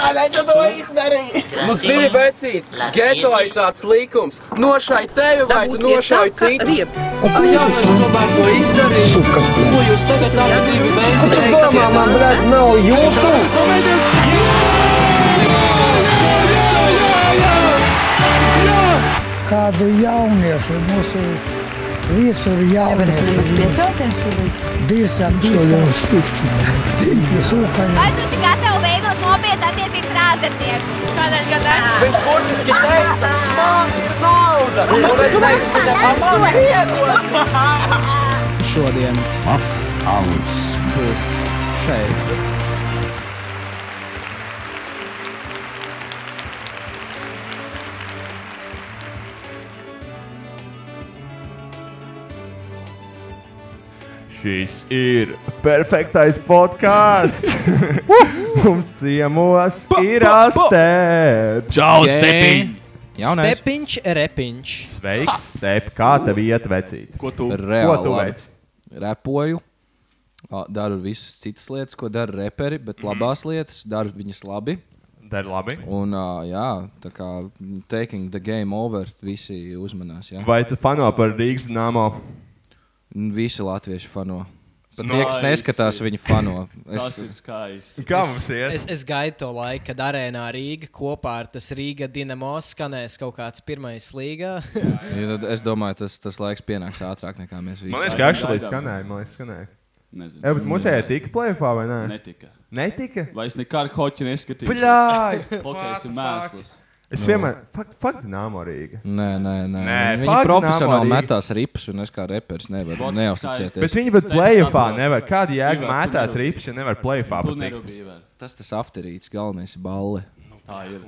Kādēļ tu to izdarīji? Nu, zini, vecīt, geto ir tāds likums. Nošai tevi vai tu nošai citu. Ai, jā, es tomēr to izdarīju. Ko jūs tagad abi divi mēģināt? Domā, man, blēd, nav jūtu! Kādu jauniešu mūsu visur jauniešu Piecelties šodien. dirsam, dirsam stikti. Sūkaļi. Es esmu gatava veidot nopietnu attiecību ar ārzemnieku. Tādēļ, ka tā ir. Viņš burtiski teica, man ir nauda. Un es teicu, ka tā man ir iedod. šodien apgabals būs šeit. Šis ir perfektais podkāsts. Mums ciemos ir astē. Čau, Stepiņ! Jaunais. Stepiņš, repiņš. Sveiks, Step! Kā tev iet, vecīt? Ko tu? Ko Reāli tu labi. veic? Repoju. ā, Daru visas citas lietas, ko dara reperi, bet labās lietas daru viņas labi. Mhm. Dari labi. Un, ā, jā, tā kā mm, taking the game over, visi uzmanās. Jā. Vai tu fano par Rīgas namo? Un Nu, Visi latvieši fano. Pat Nice. tie, kas neskatās, viņi fano. Tas Es, ir skaisti. Kā mums iet? Es, es gaidu to laiku, kad arēnā Rīga kopā ar tas Rīga Dienamo skanēs kaut kāds pirmais līga. es domāju, tas, tas laiks pienāks ātrāk nekā mēs visi. Man liekas, Visai ka actually gaidām. skanēja. Man liekas, skanēja. Nezinu. Jā, bet mums Mm. jāiet tika plēfā vai nē? Netika. Netika. Vai es nekā ar hoķi neskatījos? Pļāj! Hokejs ir What the fuck? mēsls. Es vienmēr. Fuck, fuck Nāmo Rīga. Nē, nē, nē. Nē, Viņi- fuck Viņi profesionāli nāmarīgi. metās rips, un es kā reperis nevaru Fuck, Bet neuzticēties. viņi pat Tevi plēfā saprotu. nevar. Kāda jēga Ivar, tu mētāt nerūpējies. rips, ja nevar plēfā? Tu patikt? nerūpīgi vēl. Tas tas afterīts, galvenais ir balle. Tā ir.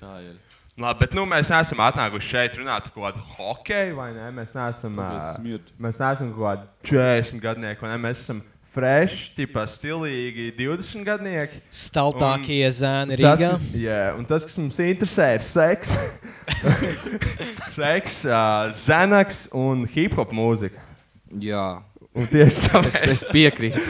Tā ir. Labi, bet nu, mēs neesam atnākuši šeit runāt par kaut kādu hokeju, vai ne? Mēs neesam, Kāpēc ā, smirdi? mēs neesam kaut kādi 40 gadnieki, vai ne? Mēs esam fresh, tipā stilīgi 20 gadnieki. Staltākie zēni Tas, Rīgā. kas- jā, un tas, kas mums interesē, ir seks, seks ā, zenaks un hip hop mūzika. Jā, Un tieši es, tāpēc. es piekrītu.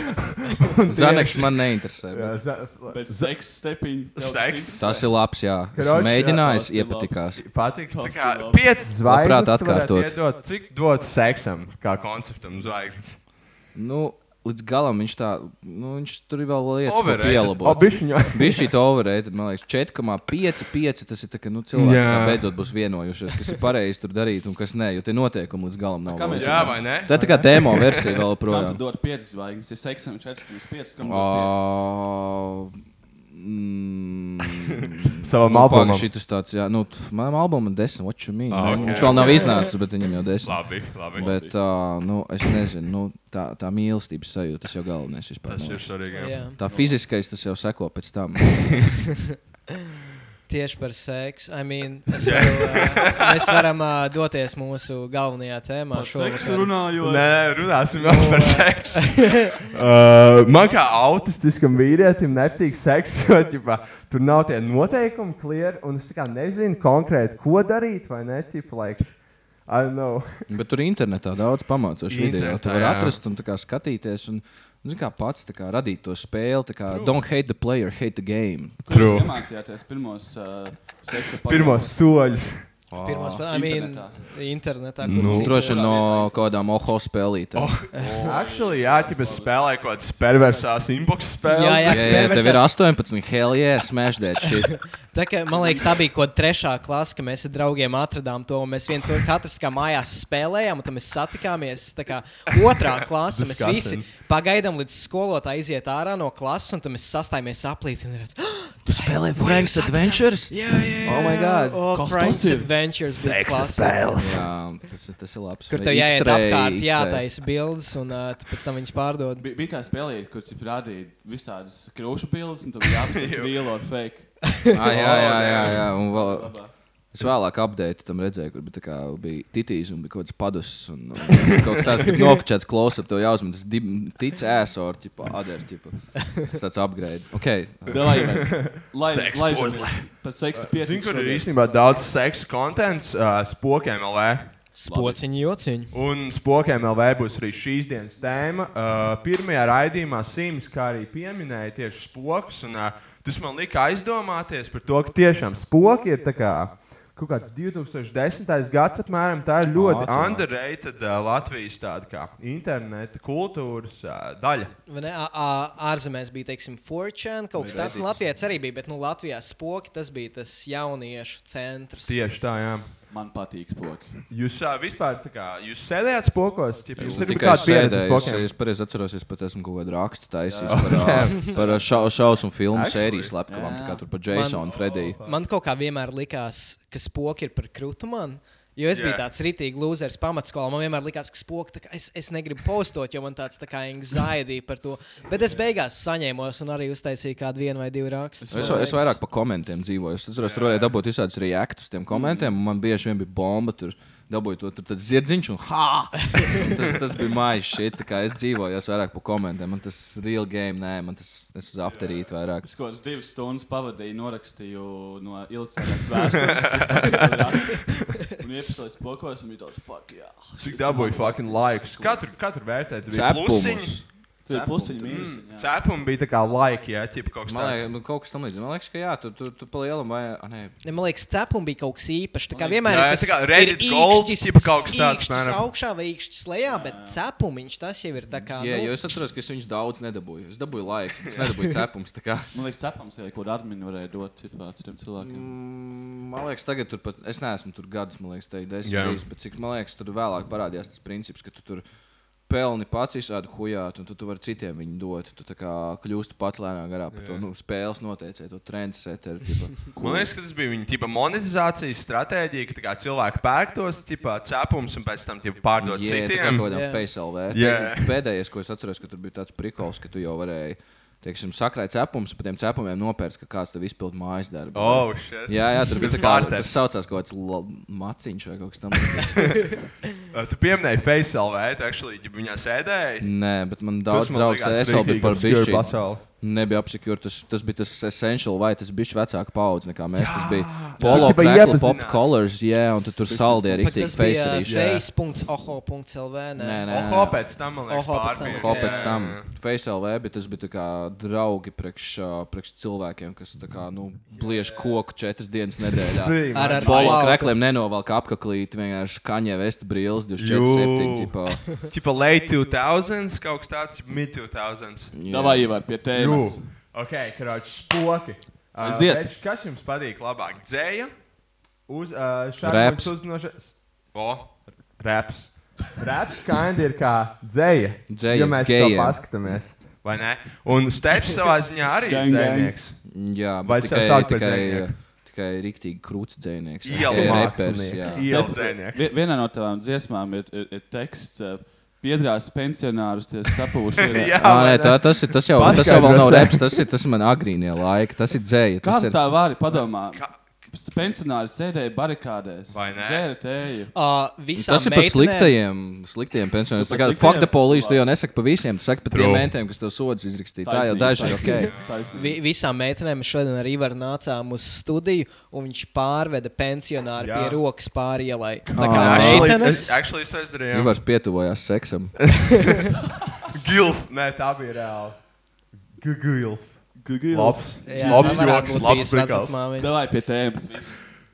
Zaneks man neinteresē. bet Jā, za- Bet seks stepiņš. Seks? Tas ir labs, jā. Es Kroķis, jā, mēģināju, tas ir iepatikās. Patīk, Tas kā ir labi. piecas zvaigznes. Labprāt tu varētu atkārtot. iedot. Cik dot seksam, kā konceptam zvaigznes? Nu, līdz galam viņš tā, nu, viņš tur ir vēl lietas, ko Overrated. O, pielabot. bišķiņo. Bija šī overrated, man liekas, 4,55. Tas ir tā, ka nu, cilvēki Jā. yeah. beidzot būs vienojušies, kas ir pareizi tur darīt un kas nē, jo tie noteikumi līdz galam nav. Kā mēs- vēl. Jā, vai ne? Tā ir tā kā demo versija vēl Kam tu projām. Ah, dod 5 zvaigznes? Es seksam 4,5. Kam tu dod Ā, mm, Savam Nu, albumam. pagaidi, šitas tāds, jā, nu, t- manam albumam ir desmit, what you mean? Ah, Oh, ok. okay. Viņš vēl nav iznācis, bet viņam jau desmit. Labi, labi. Bet, uh, nu, es nezinu, nu, tā, tā mīlestības sajūta, tas jau galvenais vispār. tas ir man liekas. svarīgi. jā. Jā. Tā fiziskais tas jau seko pēc tam. Tieši par seksu. I mean, es varu, uh, mēs varam uh, doties mūsu galvenajā tēmā Seksu šovakar. runājot. Nē, runāsim vēl par seksu. uh, man kā autistiskam vīrietim nepatīk seks, jo ķipā, tur nav tie noteikumi klieri, un es tā kā nezinu konkrēti, ko darīt, vai ne? Ķipa, like, I don't know. Bet tur internetā daudz pamācās video. Internetā, Tu vari jā. atrast un tā kā skatīties. Un, un, Zini, kā pats tā kā, radīt to spēli, tā kā don't hate the player, hate the game. True. Jūs iemācījāties pirmos uh, seksa Pirmos soļus. Pirmos, I mean, internetā. Nu, kur Droši citur. vien no kaut kādām oho spēlītēm. Oh, Actually, jā, ķipa, es spēlēju kaut kādas perversās inbox spēles. Jā, jā, jā, jā, tev ir perversās- 18, hell yeah, smash that shit. Tā, ka, man liekas, tā bija kaut kāda trešā klase, ka mēs ar draugiem atradām to. un Mēs viens otru katrs kā mājās spēlējām, un tad mēs satikāmies. Tā kā otrā klase, un mēs visi pagaidām līdz skolotāji iziet ārā no klases, un tad mēs sastājāmies aplīt. un redz, "Ah, Tu spēlē Frank's Adventures? Jā, jā. Oh, my God. Oh, Frank's Adventures bija klase. spēles. Jā, tas, ir- tas ir labs. Kur Vai tev jāiet X-ray, apkārt, X-ray? jātaisa bildes, un uh, tu pēc tam viņas pārdod. Bija, bija tā spēlīte, kur cip rādīja visādas krūšu bildes, un tam bija jāapsver real or fake. Ah, jā, jā, jā, jā. Un vēl, es vēlāk apdeitu tam redzēju, kur bija, tā kā bija titīs un bija kaut kāds padus. Un, un kaut kas tāds - nofočēts, klausot, tev jāuzmanā. Tas dib- tic ēsor, tipa, aders, tipa. Tas tāds upgrade. Ok. Lai Seks gan pozle. par seksu Zinu, pietiek. kur ir īstenībā daudz seksa konteksts, uh, spokiem LV. Pociņu jociņu. Un spokiem LV E būs arī šīs dienas tēma. Uh, pirmajā raidījumā Sīms, kā arī pieminēja, tieši spoks. Un, uh, tas man lika aizdomāties par to, ka tiešām spoki ir tā kā. Kaut kāds 2010. gads, apmēram, tā ir ļoti Ātrāk. underrated uh, Latvijas tāda kā interneta kultūras uh, daļa. Vai ne? Ā- ā- Ārzemēs bija, teiksim, Fortune, kaut kas tāds. un Reddits. Latvijā arī bija, bet nu, Latvijā spoki tas bija tas jauniešu centrs. Tieši tā, jā. Man patīk spoki. Jūs uh, vispār tā kā, jūs sēdējāt spokos, ja jūs Jūs gribat tikai kādu pieredzi sēdējāt, spokiem. es pareizi atceros, es pat esmu kaut kādu rakstu taisījis par, ā, par ā, šau, šausmu filmu sērijas slepkavām, tā kā tur par Jasonu un Frediju. Man kaut kā vienmēr likās, ka spoki ir par krūtumanu. Jo es biju Jā. tāds rītīgs lūzers pamatskolā. Man vienmēr likās, ka spoki, tā kā es, es negribu postot, jo man tāds tā kā anxiety par to. Bet es beigās saņēmos un arī uztaisīju kādu vienu vai divu rakstu. Es, va- es vairāk par komentiem dzīvoju. Es atceros, tur varēja dabūt visādus reaktus tiem komentiem, un man bieži vien bija bomba. Tur dabūju to tur tāds zirdziņš, un ha! Un Tas, tas bija mājas šeit, tā kā es dzīvoju, es vairāk par komentiem. Man tas real game, nē, man tas es uz afterīt vairāk. Es kaut kādas divas stundas pavadīju, norakstīju no ilgas vēstures. Un iepazīstināju spokos, un bija tāds fuck, jā. Cik dabūju fucking laikus? Katru, katru vērtēt bija plusiņi. Cepumus. Tur bija plusiņi Mm, mīnus. Cēpumi bija tā kā laiki, ja ķip, kaut kas Man liekas, tāds. nu, kaut kas tam līdzīgs. Man liekas, ka jā, tu, tu, tu pa lielam vai... a, Nē, Ne, Man liekas, cepumi bija kaut kas īpašs. Tā kā vienmēr Jā, ir tas tā kā Reddit Gold, tipa kaut kas tāds, Viņš mēram. augšā vai īkšķis lejā, bet cepumiņš tas jau ir tā kā. jā, jo nu, es atceros, ka es viņus daudz nedabūju. Es dabūju laiku, es nedabūju cepumus. tā kā. Man liekas, cepams, ka kaut kāda admin varēja dot citā- citiem cilvēkiem. Mm, Man liekas, tagad tur pat, es neesmu tur gadus, man liekas, teikt, desmit Jā. gadus, bet cik man liekas, tur vēlāk parādījās tas princips, ka tu tur pelni pats izsādi hujāt, un tu, tu vari citiem viņu dot. Tu tā kā kļūsti pats lēnāk garā par to nu, spēles noteicēju, to trendsetteru. tipa. Man liekas, ka tas bija viņa tipa monetizācijas stratēģija, ka tā kā cilvēki pērk tos tipa cēpumus un pēc tam tipa pārdod Jā, tā kā citiem. kaut kādā Jā. PSLV. Jā. Pēdējais, ko es atceros, ka tur bija tāds prikols, ka tu jau varēji, teiksim, sakrāt cepumus, pa tiem cepumiem nopērts, ka kāds tev izpild mājas darbu. Oh, shit. Jā, jā, tur bija tā kā Smarter. tas saucās kaut kāds la- maciņš vai kaut kas tamlīdzīgs. Uh, Tu pieminēji Faisal, vai tu actually, ja viņā sēdēji? Nē, bet man daudz man draugs likās ESL bija rītīgi par obscure bišķi. pasauli. Nebija apsakūta. Tas, tas bija tas essential, vai tas bija vecāka paudze nekā mēs. Jā, tas bija Jā, polo, tipa krekla, iepazinās. pop colors, jā, un tad tur saldē arī bet tik tas bija face arī. jā. face.oho.lv. Nē, nē, Oho, pēc tam, man liekas, Oho, pēc tam. pārbija. Ko pēc tam? Face LV bija tas bija tā kā draugi priekš, uh, priekš cilvēkiem, kas tā kā, nu, bliež koku četras dienas nedēļā. Free, Ar ar Polo klautu. krekliem nenovelk apaklīt, vienkārši kaņē vestu brīlis Jū. 24-7. tipā. Tipa late 2000s, kaut kas tāds, mid 2000s. Jā. Davai jau ar pie tēmas. Jū. Ok, krāšņi spoki. Uh, Aiziet. Več, kas jums patīk labāk? Dzēja, uz uh, Raps. šādas uzzinošas. O, raps. Raps kind ir kā dzēja. Dzeja, ja mēs to gejiem. paskatāmies. Vai ne? Un steps savā ziņā arī ir Gang, gang. dzējnieks. Jā, Vai bet sa- tikai, sāk par tikai, dzejnieku? tikai rīktīgi krūts dzēnieks. Ielu jā. mākslinieks. Ielu dzējnieks. Vi- Vienā no tām dziesmām ir, ir, ir teksts. eh, Piedrās pensionārus, tie sapūši. Jā, Ā, vai ne? nē, tā, tas, ir, tas, jau, tas jau vēl Paskaidros, nav vai? reps, tas ir tas man agrīnie laiki, tas ir dzēja. Tas Kādu ir, tā vāri padomā? Kā- Pensionāri sēdēja barikādēs. Vai ne? Dzēra tēju. tas ir par sliktajiem, sliktajiem pensionāriem. Nu, Tā par kā sliktajiem? fakta polīs, tu jau nesaki par visiem, tu saki par tiem True. mentiem, kas tev sodas izrakstīja. Tā jau daži ir ok. okay. Vi, visām meitenēm šodien arī var nācām uz studiju, un viņš pārveda pensionāru Jā. pie rokas pāri ielai. Tā kā Ā. Actually, meitenes, es- Actually, es to izdarīju. Ivars pietuvojās seksam. Gilf. Nē, tā bija reāli. Gilf. Labs. jā, tā Labs varētu joks, būt labs bijusi prikals. vecmāmiņa. Davai pie tēmas. viss.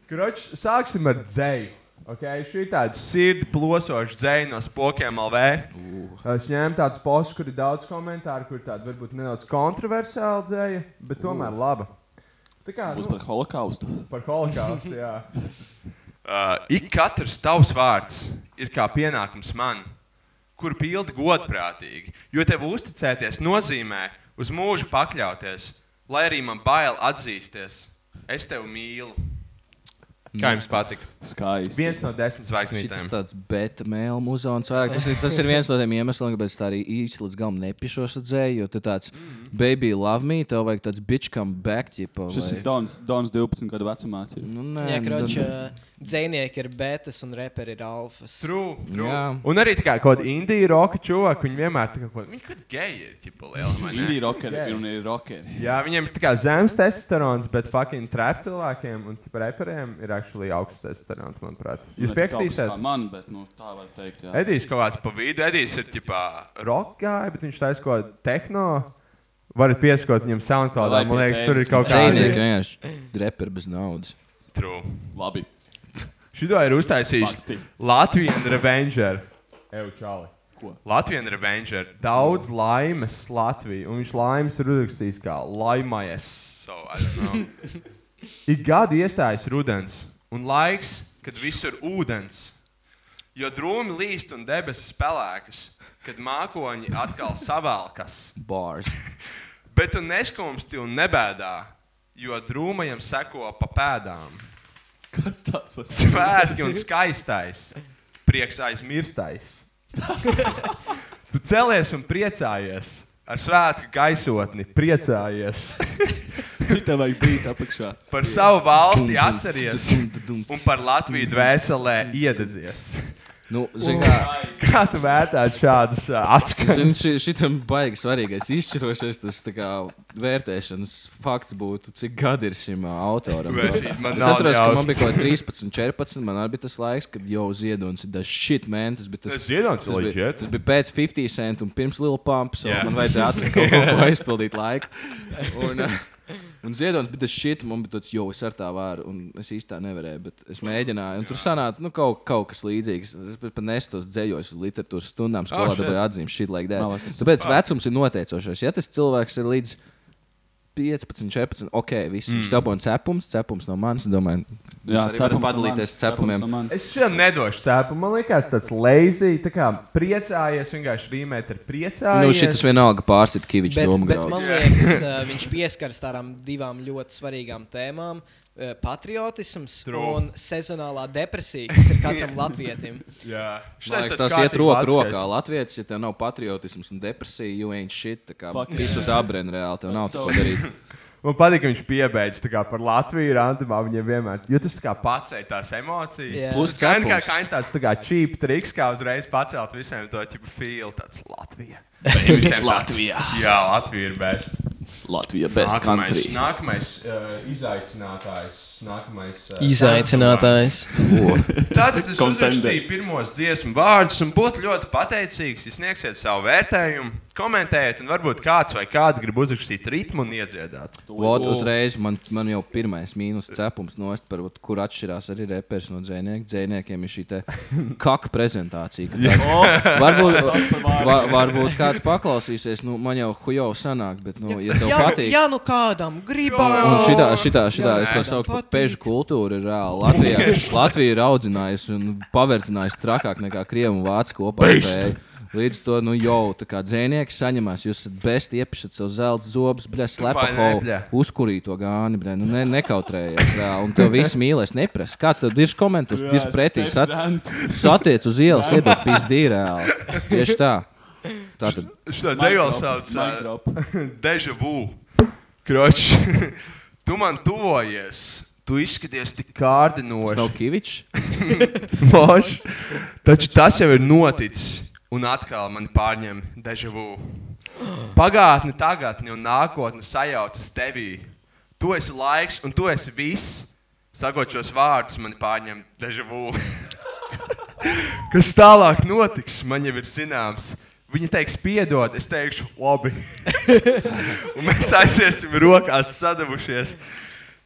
Kroč, sāksim ar dzēju. Okay, šī ir tāda sirds plosoša dzēja no spokiem LV. Es ņēmu tādu posmu, kur ir daudz komentāru, kur tāda varbūt nedaudz kontroversiāla dzēja, bet tomēr laba. Tā kā Būs nu, par holokaustu. par holokaustu. jā. Uh, ik katrs tavs vārds ir kā pienākums man, kur pildi godprātīgi, jo tev uzticēties nozīmē uz mūžu pakļauties, lai arī man bail atzīsties. Es tevi mīlu. Kā jums patika? Skaisti. Viens no desmit Šis zvaigznītēm. tāds beta mail muzons vairāk. Tas ir, tas ir viens no tiem iemesliem, kāpēc tā arī īsti līdz galam nepišos ar dzēju, jo tu tāds baby love me, tev vajag tāds bitch come back, tipo. Šis vai- ir Dons, Dons 12 gadu vecumā. tie. Nu, nē, Jā, nu, kroč, tad- ā, dzēnieki ir betas un reperi ir alfas. True, true. Jā. Un arī tā kā kaut kāda indija roka čūvaka, viņi vienmēr tā kā kaut kāda kā geja ir. Ķipa, liela, vai ne? Indie rockeri un ir rockeri. Jā, viņiem ir tā kā zems testosterons, bet fucking trap cilvēkiem un tipa reperiem ir actually augsts testosterons, manuprāt. Jūs Ne kaut kas piekritīsiet? kā Man, bet nu, tā var teikt, jā. Edijs kaut kāds pa vidu, Edijs ir tipā rokkāja, bet viņš taisa kaut kādu tehno. Varat pieskot viņam SoundCloudā, Lai pie man liekas, tur ir tēmas. kaut Cīnieki kāda vienkārši reperi bez naudas. trūka. Labi. Šito ir uztaisījis Fakti. Latvijas Revenger. Eju, Čāli. Ko? Latvijas Revenger. Daudz laimes Latvijā, un viņš laimes ir uzrakstījis kā laimējies. So, I don't know. Ik gadu iestājas rudens, un laiks, kad visur ūdens, jo drūmi līst un debesis pelēkas, kad mākoņi atkal savalkas. Bars. Bet tu neskumsti un nebēdā, jo drūmajam seko pa pēdām. Kas tāds var būt? Svētki un skaistais, prieks aizmirstais. Tu cēlies un priecājies. Ar svētku gaisotni priecājies. Tev vajag būt apakšā. Par savu valsti atceries un par Latviju dvēselē iededzies. Nu, zin kā, Kā tu vērtētu šādas ā, atskaņas? zin, ši, šitam baigi svarīgais izšķirošais tas tā kā vērtēšanas fakts būtu, cik gadi ir šim ā, autoram. Es īsti- man Es nav atceros, ka jausmas. man bija kaut kā 13, 14. Man arī bija tas laiks, kad jau ziedonis ir dažs shit, man tas bija tas. Tas Ziedonis tas ir bija, legit. tas bija pēc 50 cent un pirms Lil Pumps. Jā. Yeah. Man vajadzēja atrast kaut ko, ko aizpildīt laiku. Un, eh, un ziedonis bija tas shit, man bija tāds jau es ar tā vāru, un es īstā nevarēju, bet es mēģināju. Un tur sanāca nu, kaut, kaut kas līdzīgs. Es pat pat nestos dzējos uz literatūras stundām, skolā oh, shit. dabūju atzīmi šī laika dēļ. Malacis. Tāpēc vecums ir noteicošais. Ja tas cilvēks ir līdz 15, 14, ok, viss, mm. viņš dabūja cepums, cepums no manis. Domāju, Jā, arī varat padalīties cepumiem. Es šiem nedošu cēpu. Man liekas, tas lazy. Tā kā priecājies, vienkārši rīmēt ar priecājies. Nu, šis vienalga pārstāvja Kaviča Bet, domu bet graudu. man liekas, uh, viņš pieskaras tādām divām ļoti svarīgām tēmām. uh, Patriotisms True. un sezonālā depresija, kas ir katram latvietim. Jā, Man liekas, tas iet roku rokā. Latvijas, ja tev nav patriotisms un depresija, you ain't shit. Tā kā Fuck viss yeah. uz abrēna reāli, tev nav That's tā so- ko darīt. Man patīk, ka viņš piebeidz tā kā par Latviju randomā. Viņam vienmēr, jo tas tā kā pacēla tās emocijas. Jā. Plus Tas gan kā, cepums. kā tāds tā kā čīp triks, kā uzreiz pacelt visiem to ķipu fīlu. Tāds Latvija. Viņš Latvijā. Jā, Latvija ir best. Latvija best Nākamais, country. nākamais uh, izaicinātājs. Nākamais, uh, Izaicinātājs. Tātad es Contender. uzrakstīju pirmos dziesmu vārdus un būtu ļoti pateicīgs, ja sniegsiet savu vērtējumu, komentējiet, un varbūt kāds vai kāda grib uzrakstīt ritmu un iedziedāt. Vot, uzreiz man, man jau pirmais mīnus cepums nost, par, vot, kur atšķirās arī reperis no dzēniekiem. Dzēniekiem ir šī te kaka prezentācija. ka Tāds, varbūt, va, varbūt kāds paklausīsies, nu man jau hujo sanāk, bet, nu, ja tev Jā, nu- patīk. jā, nu kādam Un gribās. šitā, šitā, šitā, es to jā. saucu par Oh. Patīk. pežu kultūru. Ir, reāli Latvijā, Latvija ir audzinājusi un pavērcinājusi trakāk nekā krievu un vācu kopā. spēju. Līdz to nu, jau tā kā dzēnieki saņemās, jūs esat besti iepazīstināt savu zelta zobus, bļa, vai ne, slepkavo, bļa? uzkurīto gāni, bļa, nu ne, nekautrējies. Reāli, un tev viss mīlēs, neprasa. Kāds tev ir komentārs, Jā, tas pretī steps sat, rant. satiec uz ielas, iedod pīzdī reāli. Tieši tā. Tātad. Šitā Mic dzējola drop, sauc mic ā, drop. Deja vu. Kroč, tu man tuvojies. Tu izskaties tik Tas kārdinoši. nav Kavičs. Moš, taču tas jau ir noticis. Un atkal man pārņem deja vu. Pagātne, tagadne un nākotne sajaucas tevī. Tu esi laiks, un tu esi viss. Sakot šos vārdus, man pārņem deja vu. Kas tālāk notiks, man jau ir zināms. Viņa teiks, piedod, es teikšu, labi. un mēs aiziesim rokās sadavušies.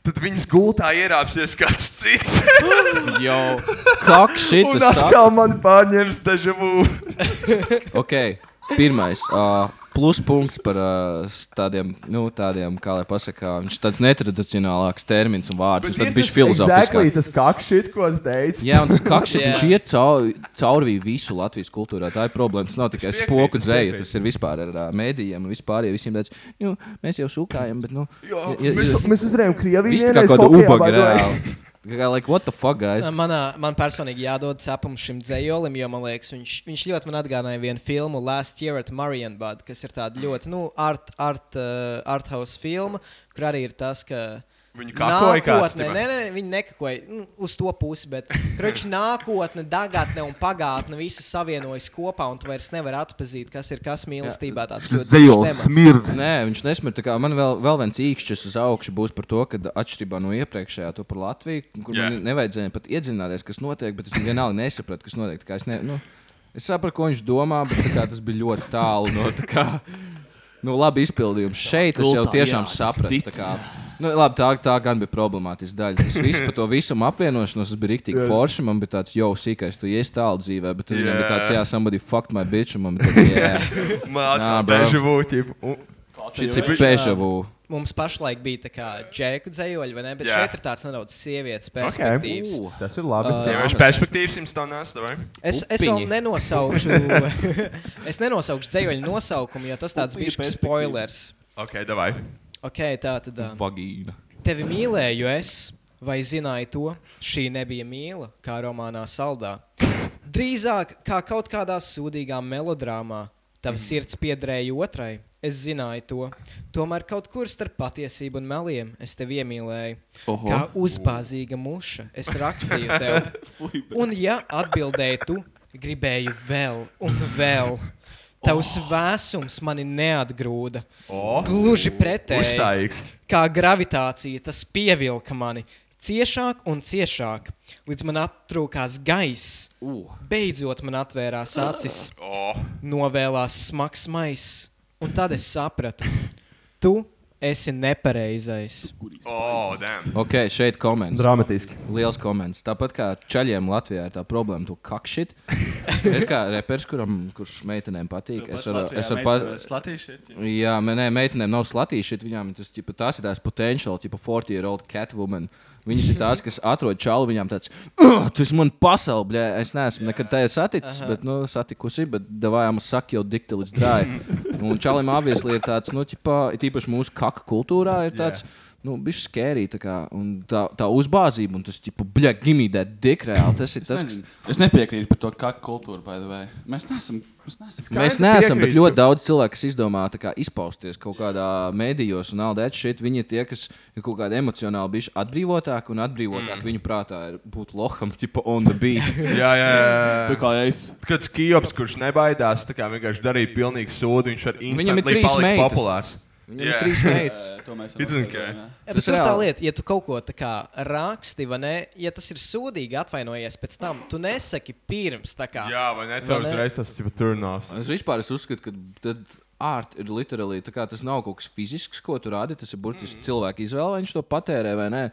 Tad viņas gultā ierāpsies kāds cits. Jau, Un kaks šitas. saka. atkal man pārņems dažu būvu. Ok, pirmais. Uh, Pluspunkts par uh, s- tādiem, nu, tādiem, kā lai pasakā, viņš ir tāds netradicionālāks termins un vārds. Viņš tāds bija Exactly, filozofisks. tas kāks šit, ko tu teici. Jā, un tas kakšķis, Jā. viņš iet cauri, cauri visu Latvijas kultūrā. Tā ir problēma. Tas nav tikai piekrītu, spoku es dzēja, piekrītu. tas ir vispār ar uh, mēdījiem un vispār. Ja visiem tāds, nu, mēs jau sūkājam, bet, nu, Jā, ja- mēs, ja- mēs uzrējām Krieviju. viss tā kā vienreiz kāda hokejā, ubaga by the way. reāli. Kā, like, what the fuck, guys? Manā, man personīgi jādod cepums šim dzējolim, jo man liekas, viņš, viņš ļoti man atgādāja vienu filmu Last Year at Marienbad, kas ir tāda ļoti, nu, art, art, uh, art house filma, kur arī ir tas, ka Viņu kāpoja kāds. Nākotnē, nē, tipā? nē, viņi nekakoja nu, uz to pusi, bet krāšņi nākotne, dagātne un pagātne visas savienojas kopā, un tu vairs nevari atpazīt, kas ir kas mīlestībā. Tas Nē, viņš nesmir. tā kā Man vēl, vēl viens īkšķis uz augšu būs par to, ka atšķirībā no iepriekšējā to par Latviju, kur Jā. yeah. man nevajadzēja pat iedzināties, kas notiek, bet es vienalga nesapratu, kas notiek. Tā kā Es, ne, nu, es sapratu, ko viņš domā, bet tā kā, tas bija ļoti tālu no tā. Kā, nu, labi izpildījums šeit. Es jau Kultā, tiešām jā, tas sapratu. tā cits. kā. Nu, labi, tā, tā gan bija problemātiska daļa. Tas viss par to visam apvienošanos tas bija rīktīgi forši. Man bija tāds jau sīkais, tu iesi tālu dzīvē, bet tur yeah. bija tāds, jā, somebody fucked my bitch. un Man bija tāds, jā, Man Nā, atkal bro. bežu būtību. šis ir pežavu. mums pašlaik bija tā kā džeku dzējoļi, vai ne? Bet Jā. šeit ir tāds nedaudz sievietes perspektīvas. Okay. Tas ir labi. Uh, Sieviešu perspektīvas jums tā nāca, vai? Es, es vēl Upiņi. nenosaukšu, es nenosaukšu dzējoļu nosaukumu, jo tas tāds Upiņu bija perspektīvas. spoilers. Ok, davai. Ok, tā tad. um, ā, Vagīna. Tevi mīlēju es, vai zināji to? Šī nebija mīla, kā romānā Saldā. Drīzāk kā kaut kādā sūdīgā melodrāmā, tavs sirds piederēja otrai. Es zināju to. Tomēr kaut kur starp patiesību un meliem es tevi iemīlēju. Oho. Kā uzbāzīga muša, es rakstīju tev. Un, ja atbildēji tu, gribēju vēl un vēl. Tavs oh. vēsums mani neatgrūda. O, Gluži pretēji. uzstājīgs. Kā gravitācija, tas pievilka mani ciešāk un ciešāk, līdz man aptrūkās gaiss. Uh. Beidzot, man atvērās acis, O, novēlās smags maiss, un tad es sapratu, tu esi nepareizais. o, damn. Ok, šeit komments. Dramatiski. Liels komments. Tāpat kā čaļiem Latvijā ir tā problēma, to kakšķīt. Es kā reperis, kuram, kurš meitenēm patīk, es varu. Es varu pat... Jā, man- nē, meitenēm nav slatīši, viņām tas tipa, tās ir tās potenciāli, tipo 40 year old catwoman. Viņas ir tās, kas atrod čalu, viņām tāds, "Ugh, tu esi man pasaule, blē, es neesmu nekad tajā saticis, bet, nu, satikusi, bet davājām saki jau dikti līdz drāji. Un čalim obviously ir tāds, nu, tipa, it īpaši mūsu kaka kultūrā ir tāds. Yeah. Nu, Bišķi skērī, tā, kā, un tā, tā uzbāzība, un tas, tipo, bļa, gimīdē, dik reāli. Tas ir tas, kas. Es nepiekrītu par to, kā kultūra, by the way. Mēs neesam. Mēs neesam. Mēs Skaidri neesam, bet piekrītu. ļoti daudz cilvēku, kas izdomā tā kā izpausties kaut kādā mēdījos un aldēt šeit, viņi ir tie, kas ir kaut kādi emocionāli bijuši atbrīvotāki un atbrīvotāki. Mm. Viņu prātā ir būt loham, tipo on the beat. Jā, jā, jā. Tā kā es. Kad skijops, kurš nebaidās, tā kā vienkārši darīja pilnīgi sūdu, viņš ar Viņam ir instantly trīs palika meitas. populārs. Viņam ir Jā. trīs meitas. To mēs It doesn't care. jā. Ja, Tas tas ir tā reāli. lieta, ja tu kaut ko tā kā raksti, vai ne? Ja tas ir sūdīgi, atvainojies pēc tam, tu nesaki pirms. tā kā. Jā, vai ne? Vai Tev ne? uzreiz tas ir turnos. Es vispār es uzskatu, ka tad ārta ir literāli tā kā tas nav kaut kas fizisks, ko tu rādi. Tas ir burtiski mm. cilvēka izvēle, vai viņš to patērē vai nē.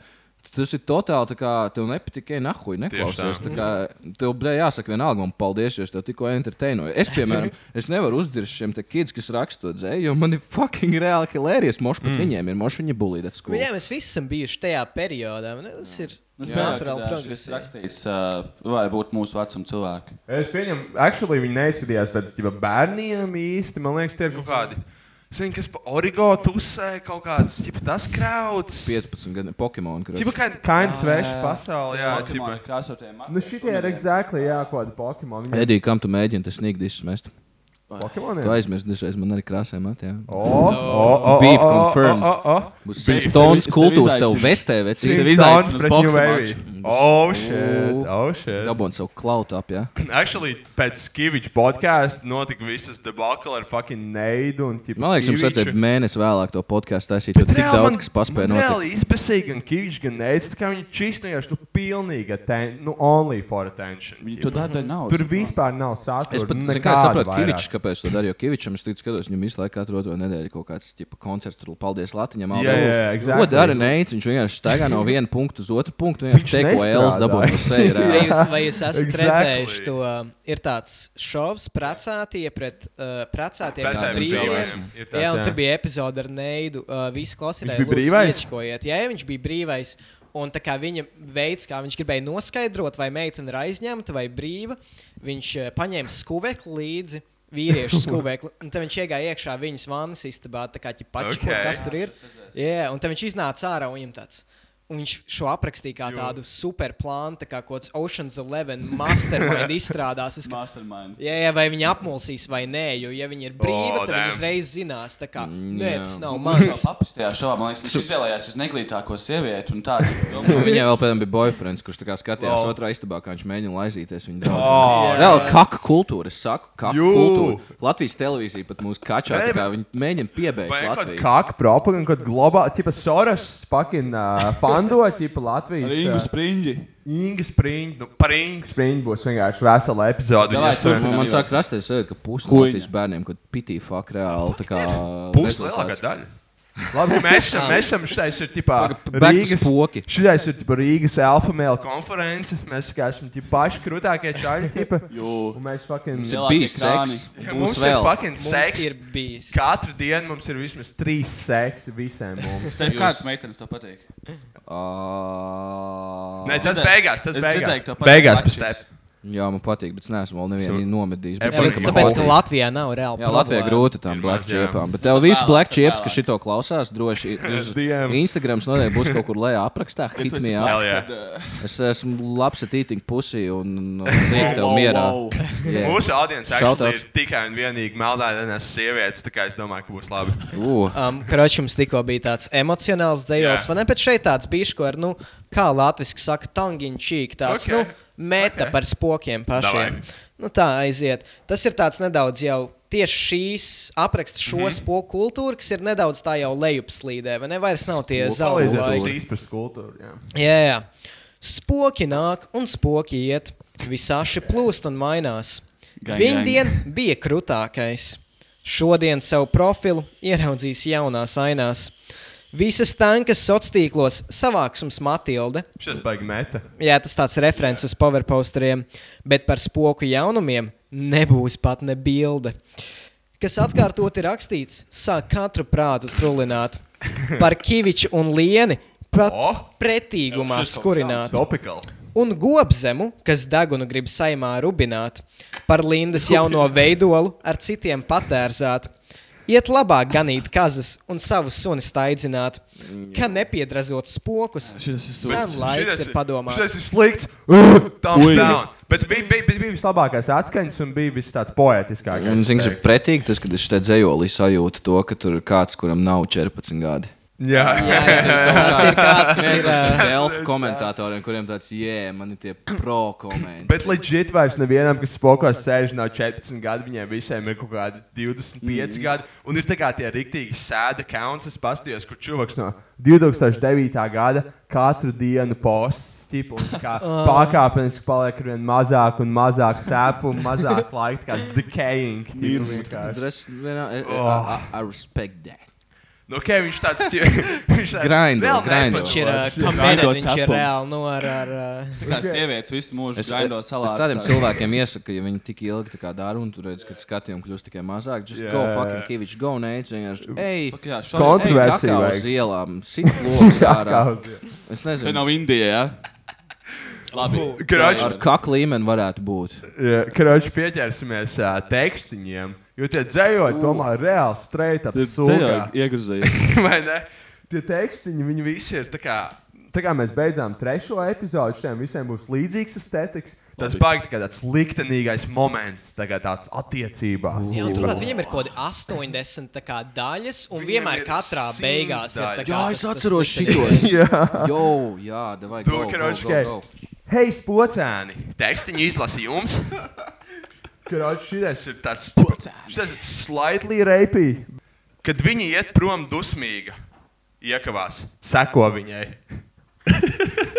Tas ir totāli tā kā tev nepatīk, ej, nahuj, neklausies. Tā kā tev, blē, jāsaka, vienalga, man paldies, jo es tev tikko entertainoju. Es, piemēram, es nevaru uzdirst šiem te kids, kas raksta to dzēju, jo man ir fucking reāli hilērijas. Moši pat mm. viņiem ir, moši viņi bulīdēt skolu. Jā, mēs visi esam bijuši tajā periodā. vai ne? Tas ir Es naturāli Es progress. jā. rakstīju, uh, vai būtu mūsu vecuma cilvēki. Es pieņemu, actually viņi neizskatījās pēc ģipa, bērniem īsti. Man liekas, tie ir kaut kādi. Zini, kas pa origo tusē kaut kāds, ģipa, tas krauts. 15 gadu Pokemon. Ģipa, kā kains sveša pasauli, jā, ģipa. krāsotajiem. Nu šitie ir exactly, jā, kaut kādi Pokemon. Viņiem Edī, kam tu mēģini tas nīgi izsmest? Tu Pokemoniem? Oh, aizmirsti dažreiz man arī krāsē matē. O, o, o, Beef o, o, confirmed. o, o, o. Būs Beef. 100 tonnas Tev- tev kultūras tev izaicina- vestē, vecīt. Tev Steve Downs izaicinājums pret boxa New Wave. maču. Oh, shit. Ooh. Oh, shit. Dabūn savu klautu ap, jā. Actually, pēc Skiviča podkāsta notika visas debakle ar fucking neidu un tipu. Man liekas, jums vajadzēja mēnesi vēlāk to podkāstu taisīt, jo tik daudz, kas paspēja notikt. notikt. Reāli izpēsīja gan Kivičs, gan Neids, kā viņi čīsnījās, nu, pilnīgi, atten- nu, only for attention. Viņi to tipu. dara dēļ naudas. Tur vispār nav satura. Es pat nu, zinu, kā es nekāda saprotu, vairāk. Kavičs, kāpēc to darīja. Kavičam es ticu, skatos, viņam visu laiku katru otro nedēļu kaut kāds tipa, koncerts tur, paldies Latvijam. Jā, jā, exactly. Ko dara Neits? Viņš vienkārši staigā no viena punkta uz otru punktu, vienkārši Viņš teko Elas nestrādā. dabūja no seja. Vai reāli. jūs, vai jūs esat Exactly. exactly. redzējuši to? Ir tāds šovs, precētie pret uh, precētiem Pēc pret tam brīviem. brīvajiem ir tas, Jā, un jā. tur bija epizode ar Neidu. Uh, visi klausītāji Viņš bija brīvais? iečkojiet. Jā, viņš bija brīvais. Un tā kā viņa veids, kā viņš gribēja noskaidrot, vai meitene ir aizņemta vai brīva, viņš eh, paņēma skuvekli līdzi. Vīriešu skuvekli. Un tad viņš iegāja iekšā viņas vannas istabā, tā kā viņš pačakot, Ok. okay. kas tur ir. Jā, un tad viņš iznāca ārā un viņam tāds. Un viņš šo aprakstīja kā tādu superplānu, tā kā kaut kāds Ocean's Eleven mastermind izstrādās. Es, kā, Mastermind. jā, jā, vai viņi apmulsīs vai nē, jo, ja viņi ir brīvi, Oh, tad damn. viņi uzreiz zinās, tā kā, nē, Mm, jā. tas nav Man mans. liekas, viņš izvēlējās visneglītāko sievieti. un tādu. Nu, Viņai vēl pēdējiem bija boyfriends, kurš tā kā skatījās oh. otrā istabā, kā viņš mēģina laizīties viņa draugu. Oh. Jā, vēl kaka kultūra, es saku, kaka Jū. kultūra. Latvijas televīzija pat mūsu kačā, tā kā viņi mēģina piebeigt Vai kaut Latviju. kāda propaganda, kad globāli, tipa Soros, pakin, uh, fando, tipa Latvijas. Ringu spriņģi. Inga spriņķi, nu par Inga spriņķi būs vienkārši vesela epizode. Davai, viņas ar- turpini. Man sāk rasties, sajūta, ka pusi no Kuiņa. Latvijas bērniem, kad pitī fuck reāli, tā kā Pusi lielākā daļa. Labi, mēs esam, mēs esam, šitais ir tipā Paga- back to spoki. Šitais ir tipā Rīgas alfa mēla konferences, mēs kā esam tie paši krūtākie čaļi, tipā. Jū. Un mēs fucking... Mums Jā, ir Lielākie bijis seks, Mums, būs ir vēl. fucking Mums seks. ir bijis. Katru dienu mums ir vismaz trīs seksi visiem mums. Tev kādas meitenes to patīk? Ā, Nē, tas dzirdēju. beigās, tas Es beigās. dzirdēju, tev patīk Beigās pēc pačis. tev. Jā, man patīk, bet es neesmu vēl nevienu nomedījis. bet Jā, Jā, bet ceru, ka tāpēc, būs. ka Latvijā nav reāli. Jā, Latvijā problēma. grūti tam Ir black maz, jā. chipām, bet tev visi vēlāk, black tad chips, kas vēlāk. šito klausās, droši uz DM. Instagram noteikti būs kaut kur lejā aprakstā. Ja tu Hit esi me black, up. jā. tad, eh, Es esmu labs at eating pussy un tiek tev mierā. wow. Yeah. Mūsu audience Shout actually ir tikai un vienīgi meldēdenes sievietes, tā kā es domāju, ka būs labi. Uh, Um, Kroķis mums tikko bija tāds emocionāls dzējos, Jā. vai ne? Bet šeit tāds bijis, ko ar, nu, kā latviešu saka, tangiņš čīk, tāds, Ok. okay. nu, meta Ok. okay. par spokiem pašiem. Davai. Nu, tā aiziet. Tas ir tāds nedaudz jau. Tieši šīs apraksta šo mm Mhm. -hmm. spoku kultūru, kas ir nedaudz tā jau lejupslīdē, vai ne? Vairs nav tie zaudējumi. Palīdzēs mums īstenībā kultūru. jā. Jā, jā. Spoki nāk un spoki iet. Visāši plūst un mainās. Gang, Viņa gang. diena bija krūtākais. Šodien savu profilu ieraudzīs jaunās ainās. Visas tankas sociālos tīklos savāksums Matilde. Šis baigs meta. Jā, tas tāds referents uz PowerPosteriem, bet par spoku jaunumiem nebūs pat ne bilde. Kas atkārtot ir rakstīts, sāk katru prātu trulināt. Par kiviču un lieni pat oh. O! pretīgumā Šis kaut skurināt. Topical. Un gobzemu, kas degunu grib saimā rubināt, par Lindas jauno veidolu ar citiem patērzāt. Iet labāk ganīt kazas un savus sunis taidzināt, ka nepiedrazot spokus. Šis ir Sen slikts. laiks ir padomāt. Šis ir slikts. Thumbs Ui. down. Bet bija, bija, bija, bija vislabākais atskaņas un bija viss tāds poētiskākais. un, zini, kas ir es teiktu. pretīgi, tas, kad es šeit dzējolī sajūtu to, ka tur ir kāds, kuram nav 14 gadi. Jā, Jā, es zinu, tas ir kāds, kas ir. ā, Delfu komentatoriem, kuriem tāds, jē, man ir tie pro komenti. Bet leģit vairs nevienam, kas spokos sēž no 14 gadu, viņiem visiem ir kaut kādi 25 mm. gadi. Un ir tā kā tie rīktīgi sēda counts, es pastījos, kur čuvaks no 2009. gada katru dienu posts. Tipu, un tā kā Ah. Pakāpeniski paliek ar vien mazāk un mazāk cēpumu, mazāk laika, tā kā it's decaying. tipu, vienkārši. Tur es vienā- I- I- Oh. I I respect that. Nu, okay, viņš tāds - viņš tāds Grindo, vēl nepatīk. grindo. Viņš ir ā, committed, viņš ir reāli. Nu, ar, ar, ā, Kā sievietes visu mūžu Es, graindo es salātus. tādiem cilvēkiem iesaku, ja viņi tik ilgi tā kā dara un tur redz, ka skatījumi kļūst tikai mazāk, just yeah. go Jā. fucking kivič, go neic, vienkārši, ej, Fuck, jā, Kon- šodien- ej, Kontroversija kakao vajag. uz ielām, sit loks ārā. Es Te nezinu, nav Indija, jā? Labi. Krač, ar kak līmeni varētu būt. krač pieķersimies uh, tekstiņiem, jo tie dzējoji tomēr reāli straight up sūkā. Iegrūzījis. Vai ne? Tie tekstiņi, viņi visi ir tā kā, tā kā mēs beidzām trešo epizodi, šiem visiem būs līdzīgs estētiks. Tas Labi. baigi tā kā tāds liktenīgais moments, tagad tāds attiecībās. jā, un turklāt viņam ir kaut kādi 80 tā kā, daļas, un Viņiem vienmēr ir katrā simts beigās ir tā kā. daļas. Jā, tas- es tas- atceros tas- šitos. Jā. Jo, jā, davai, Tu, go, go, Kroč, go, go. Hei, spocēni! Tekstiņu izlasīju jums! Kroč, šis ir tāds - slightly rapey. Kad viņi iet prom dusmīgi, iekavās, seko viņai.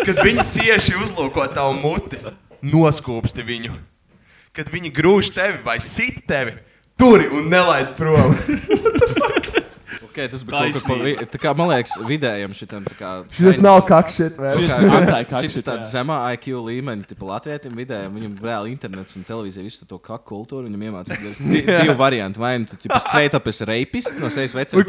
Kad viņi cieši uzlūko tavu muti, noskūpsti viņu. Kad viņi grūž tevi vai sit tevi, turi un nelaid prom. Ok, tas bija kaut kas pa vi- tā kā, man liekas, vidējiem šitam tā kā. kakšķis, vai Šis Kā- ir antaikāks. Šis tāds zemā IQ līmenī, tipā latvietim vidējam, viņam reāli internets un televīzija visu to kā kultūru. Viņam iemācīja divas- di- divu variantu. Vai nu tu tipā straight up esi reipists, no sevis vecuma.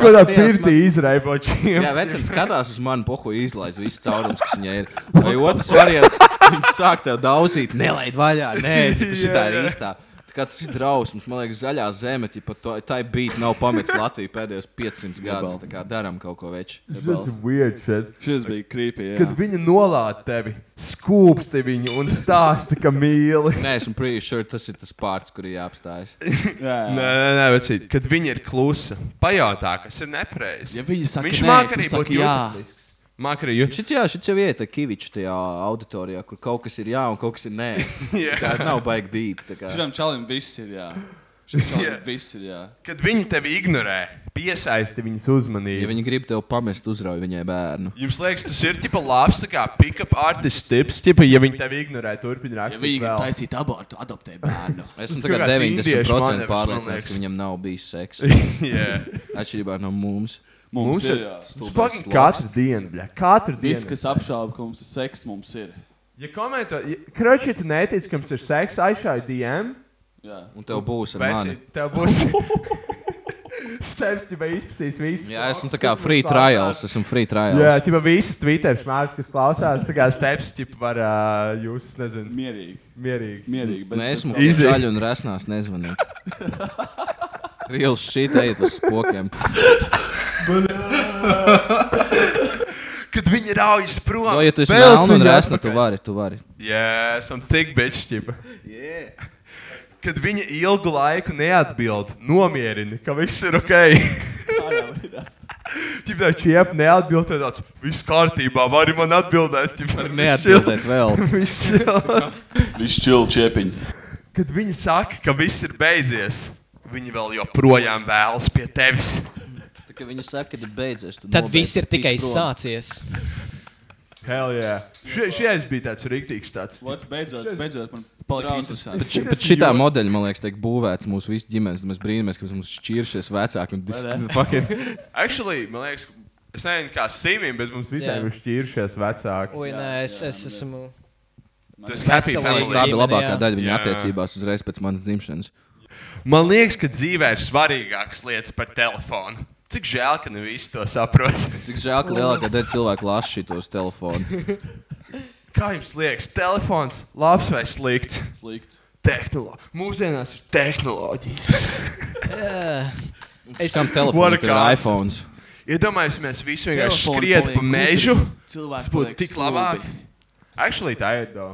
izraipočiem. Jā, vecums skatās uz mani, pohu izlaiž visu caurumu, kas viņai ir. Vai otrs variants, viņš sāk tev daudzīt, nelaid vaļā, nē, tas Jā, šitā ir jā. īstā. Tā kā tas ir drausmas, man liekas, zaļā zeme, ja pat to- tā bija. Nav pametis Latviju pēdējos 500 gadus. Tā kā darām kaut ko veču. Tas ir weird shit. Šis bija krīpīgi. Kad viņi nolādē tevi, skūpsti viņu un stāsta, ka mīli. Nē, esmu pretty sure tas ir tas pārts, kur ir jāapstājas. Nē, nē, nē vecīt, kad viņi ir klusi, pajautā, kas ir nepareizi. Ja viņi saka, Viņš nē, māk tu arī saki būt jā. jūtīgs. Māk arī jūtīgs. Šis, jā, šis jau ir Kavičs tajā auditorijā, kur kaut kas ir jā un kaut kas ir nē. Jā. Tā kā nav baigi dīvaini. Šim čalim viss ir jā. Šim čalim Jā. viss ir jā. Kad viņi tevi ignorē, piesaisti viņas uzmanību. Ja viņi grib tevi pamest, uzrauj viņai bērnu. Jums liekas, tas ir tipa labs, tā kā pick-up artists tips, tipa, ja viņi tevi ignorē, turpina Ja rakstīt. viņi grib vēl. taisīt abortu, adoptē bērnu. Esmu Tas tagad kaut kāds indiešu 90% manevrs, man pārliecināts, liekas. ka viņam nav bijis seks. yeah. Atšķirībā no mums. Mums ir jā. Stulbais fucking sloks. katru dienu, bļa. Katru Viss, dienu. kas apšauba, ka mums ir seks, mums ir. Ja komentē, ja, kroči, tu netic, ka mums ir seks, aizsāj DM, Jā. Un tev būs ar veci, mani. tev būs. Steps, tu vai izpēsīs visu. Jā, esmu tā kā free trials. Esmu free trials. Jā, tipā visas Twitter smērts, kas klausās, tā kā steps, tipā var uh, jūs, nezinu, Mierīgi. mierīgi. Mierīgi. bez- Mēs bez esam problēmām. Easy. zaļi un resnās nezvanīt. Reels šī te iet uz spokiem. Kad viņi raujas prom, No, ja tu esi melna un resna, tu vari, tu vari. Jā, esam tik bečķipa. Kad viņa ilgu laiku neatbild, nomierini, ka viss ir ok. Čipa tā čiepa neatbild, tad tāds viss kārtībā, vari man atbildēt. Čipa, Neatbildēt vēl. Viņš čil čiepiņš. Kad viņa saka, ka viss ir beidzies, viņa vēl joprojām vēlas pie tevis. Tā kā viņi saka, ka beidzies. tu Tad nobeidz, viss ir tikai tīs prom. sācies. Hell yeah. Šis bija tāds rīktīgs tāds. Ot, Beidzot, beidzot, man palika interesanti. Pat, ši, pat šitā modeļa, man liekas, tiek būvēts mūsu visu ģimenes. Mēs brīnamies, ka mums šķiršies vecāki un dis- fucking- Actually, man liekas, es nezinu kā simim, bet mums Jā. visiem ir šķīrušies vecāki. Ui, Jā, nē, es, jā, es man esmu. Tas ir happy Veselīgi. family. tā bija labākā Ģimene, jā. daļa viņa Jā. attiecībās uzreiz pēc manas dzimšanas. Man liekas, ka dzīvē ir svarīgākas lietas par telefonu. Cik žēl, ka ne visi to saprot. Cik žēl, ka lielākā daļa cilvēku lasa šitos telefonus. Kā jums liekas, telefons labs vai slikts? Slikts. Tehnolo Mūsdienās ir tehnoloģijas. Es kam telefonu What a tev ir god. iPhone? Iedomājieties, ja mēs visi vienkārši Telefoni skrietu pa paliek mežu. Cilvēki Tas būtu paliek tik stulbi. labāk. Actually, tā ir tā.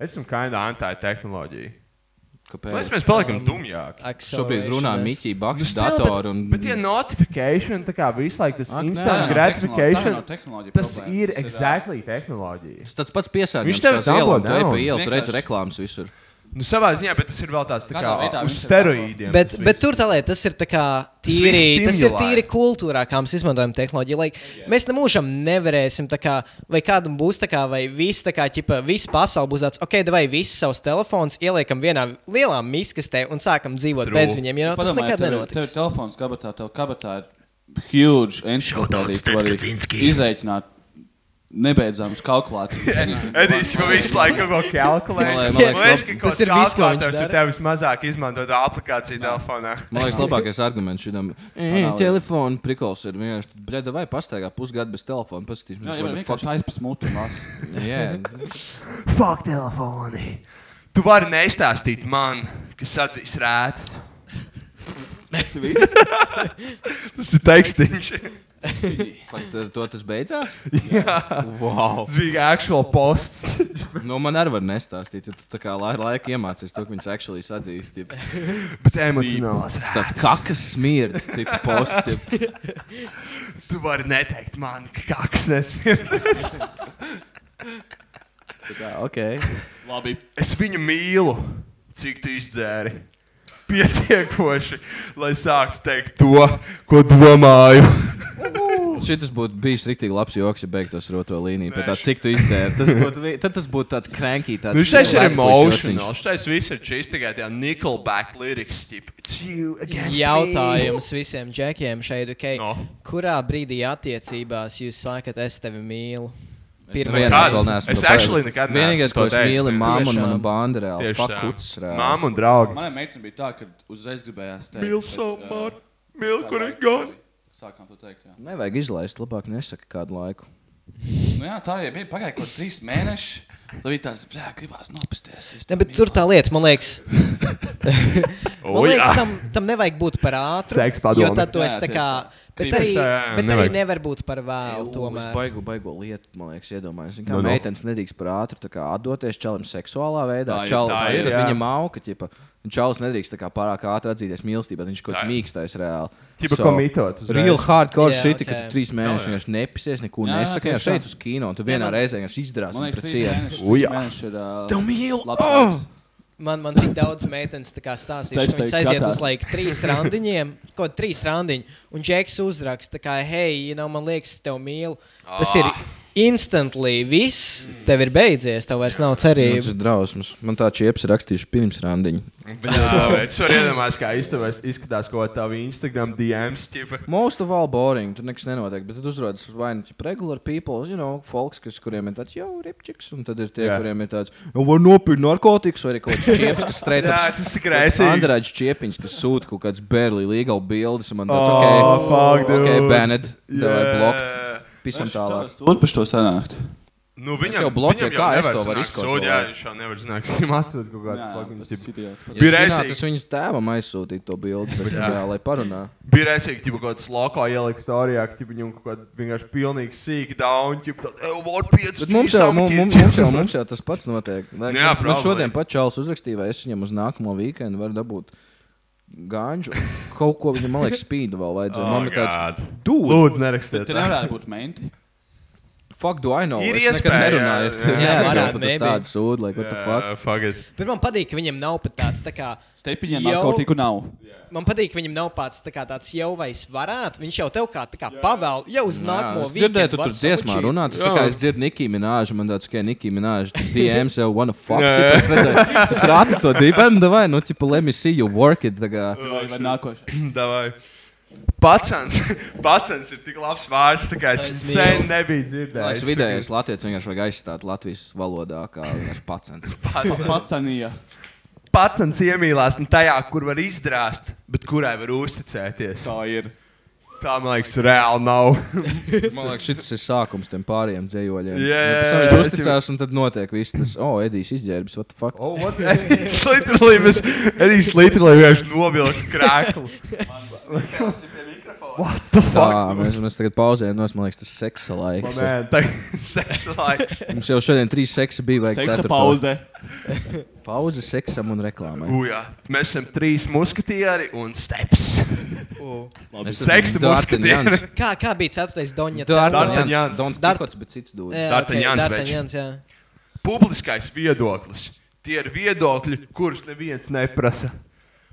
Esmu kind of anti-tehnoloģija. Mēs, Kāpēc? mēs paliekam dumjāki. Šobrīd runā Miķija Baks, datori un Bet tie notifikācijas, tā kā visu laiku tas Ak, nē, tā instant nav gratification, tehnolo- tā nav tehnoloģija tas problēma, ir tas exactly tehnoloģija. Tas tāds pats piesārņojums. Viņš tev tās dabū ielām, tu ej pa daudz. ielu, tur redz Vienkārši. reklāmas visur. Nu, savā ziņā, bet tas ir vēl tāds tā kā Kādā veidā uz viņš ir steroīdiem. Bet, tas bet viss. tur tā līnija, tas ir tā kā viss tīri, tas ir stimulē. tīri kultūrā, kā mēs izmantojam tehnoloģiju. Like, mēs tam mūžam nevarēsim, tā kā, vai kādam būs tā, kā, vai viss tā kā, ķipa, visa pasaule būs tāds, ok, vai visus savus telefonus ieliekam vienā lielā miskastē un sākam dzīvot True. True. bez viņiem. You know, tas nekad Padomājiet, tev ir- Tev nenotiks. ir telefons kabatā, tev kabatā ir huge encyklopēdija. Tu vari izaicināt nebeidzamas kalkulācijas. Edijs jau visu laiku kaut ko kalkulē. Man liekas, Man liekas, ka labi. kaut Tas ir viss, ko viņš kalkulators ir dara. tev vismazāk izmantotā aplikācija telefonā. Man liekas, labākais arguments šim Panāli. telefona prikols ir vienkārši, bļaļ, vai pastaigā pusgadu bez telefona, Jā, paskatīsimies, jau vai the fuck. vienkārši aizpasmūti un lasu. Jā, Fuck telefoni! Tu vari neizstāstīt man, kas atzīs rētas. Mēs visi. Tas ir tekstiņš. pat ar to tas beidzās? Jā. Wow. Tas bija actual posts. Nu, man arī var nestāstīt, ja tu tā kā lai- laika iemācies to, ka viņas actually sadzīst. Tip, bet emocionāls. tas tāds kakas smird, tipa posts. Tip. Tu vari neteikt man, ka kāds nesmien. Ok. Labi. Es viņu mīlu, cik tu izdzēri. Pietiekoši, lai sāktu teikt to, ko domāju. Šis būtu bijis rīktīgi labs joks, ja beigtos ar otro līniju. Bet tā, Nē, cik tu izdzēri, tas būtu, vi- tad tas būtu tāds cranky. Tāds Nu, šis ir vecais emocionāls. jociņš. Šis viss ir čīsti tikai tajā Nickelback lyrics. Tip. It's you against me. Jautājums visiem džekiem šeit, ok, No. kurā brīdī attiecībās jūs sakat, es tevi mīlu? Pirmā nekad- es vēl neesmu. es to actually teicis. nekad neesmu Vienīgais, ko to es teicis. mīlu, ir mamma un Tiešām. mana banda reāli. Tieši tā. Fakuts reāli. Māma un draugi. Manai meitai bija tā, ka uzreiz gribējās teikt. Mīl bet, uh, savu ā, māti, mīl, kādu kur ir laiku gani. sākām to teikt. Jā. Nevajag izlaist, labāk nesaka kādu laiku. Nu, jā, tā arī bija. Pagāja kaut kāds trīs mēneši. Tad bija tāds, ka gribās nopasties. Es Ne, tam bet tur tā lieta, man liekas, man O, jā. liekas tam, tam nevajag būt par ātru. Seks padomi. Jo tad tu ah. Jā, esi tā tieši kā. Bet Krīt. arī, Jā, jā, bet arī nevajag. nevar būt par vēlu. Es Tomēr. baigo, baigo lietu, man liekas, iedomājos. Zin Kā Nu, no, nu. no. meitenes nedrīkst par ātru tā kā atdoties čalam seksuālā veidā. Tā ir, Čal, tā ir, tad jā. viņa mauka, ķipa, un čalis nedrīkst tā kā pārāk ātri atzīties mīlestībā, tad viņš kaut Tā kāds ir. mīkstais reāli. Ķipa komitot uzreiz. Real hardcore Jā, yeah, shit, ok. okay. ka tu trīs mēnešus vienkārši nepisies, neko Jā, jā, nesaki. tieši Jā, šeit uz kino, un tu vienā man- reizē vienkārši izdarās Man liekas, pret tas cienu. Ujā. ir. uh, Tev mīlu! Labs, Man, man tik daudz meitenes tā kā stāstīja, Teicu, ka viņas teicu, aiziet katrs. uz laiku trīs randiņiem, kaut trīs randiņu, un Džeks uzraksta, tā kā, hei, you know, man liekas, es tev mīlu. Tas ir Ah. instantly viss, tev ir beidzies, tev vairs nav Nu, Tas cerības. ir drausmas. Man tā čieps ir rakstījuši pirms randiņa. Jā, bet es varu iedomāties, kā iztuvēs, izskatās kaut kā tā viņa Instagram DMs. Ķipa. Most of all boring, tur nekas nenotiek, bet tad uzrodas vai nu tipa regular people, you know, folks, kas, kuriem ir tāds jau ripčiks, un tad ir tie, Jā. yeah. kuriem ir tāds, nu, var nopirkt narkotikas, vai arī kaut kāds čieps, kas strēdā. Jā, tas ir grēcīgi. Andrēģis čiepiņš, kas sūta kaut kāds barely legal bildes, un man tāds, Oh, fuck, ok, dude. ok, banned, davai Yeah. blokt, pisam tālāk. Tur par to sanākt. Nu, Es viņam, jau bloķēju, viņam jau kā es nevar to varu sanākt izkontrolēt? sūdi, Jā, viņš jau nevar zināt, kas viņam atsūta kaut kādas Jā, fucking tas ir tipa. idiots. Ja Bija zināt, reizīgi. tas viņas tēvam aizsūtīja to bildi, tas ir jā, lai parunā. Bija reizīgi, ka kaut kāds lokā ielikt stārijā, ka tipa, viņam kaut kāda vienkārši pilnīgi sīka dauna, tipa, tad, "Ej, var pieci." Bet mums jau, mums, mums, jau, mums jau tas pats notiek. Lai, Jā, Jā, man probably. šodien pat Čāles uzrakstīja, vai es viņam uz nākamo weekendu varu dabūt ganžu. Kaut ko viņam, man liekas, spīdu vēl vajadzēja. Oh, man ir tāds, dude, Lūdzu, nerakstiet. Tur tā. nevarētu būt menti. fuck, do I know? Ir Es nekad iespēja, nerunāju. jā, jā. varētu, Jā, varētu, bet maybe. tas tāds sūd, like, what the fuck. Jā, fuck it. Bet man patīk, ka viņam nav pat tāds, tā kā, Stepiņā Jau. narkotiku nav. man patīk, ka viņam nav pats tā kā tāds jau vai es varētu, viņš jau tev kā, tā kā pavēl, jau uz nākamo Es vīkendu. dzirdēju, tu var tur dziesmā sabučīt. runā. Tas tā kā es dzirdu Nikī Minēžu, man tāds, ka Nikī Minēžu DMs jau wanna fuck. tipa, Es redzēju, tu prāti to dibenu, vai, nu, tipa, let me see you work it. tā kā. Vai vai nākošais? Davai. Pacens, pacens ir tik labs vārds, tā kā es Es viņu sen mīlu. nebiju Man liekas, dzirdējis. vidējais latviečs vienkārši vajag aizstāt latvijas valodā, kā vienkārši pacents. Pacanīja. Pacens iemīlās ne tajā, kur var izdrāst, bet kurai var uzticēties. Tā ir. Tā, man liekas, reāli nav. Man liekas, šis ir sākums tiem pāriem dzējoļiem. Jā, jā, pēc jā, tam jā, viņš uzticās, un tad notiek viss tas, oh, Edijs izģērbis, what the fuck. Oh, Edijs literally, mēs- Edijs literally vienkārši novilka krēklu. What the Tā, fuck? Oh, mēs, mēs tagad pauzējam, nos, man liekas, tas seksa laiks. ir. Man, tā seksa laiks. Mums jau šodien trīs seksa bija, vajag Seksa ceturto. pauze. Pauze seksam un reklāmai. Ujā, Mēs esam trīs muskatieri un steps. Es Seksa muskatieri. Kā, kā bija ceturtais Doņa? Dartaņjans. Dārtaņjans. Dons Dart- Kikots, bet cits dūda. Jā, ok, Dartaņjans, Dartaņjans, jā. Publiskais viedoklis. Tie ir viedokļi, kurus neviens neprasa.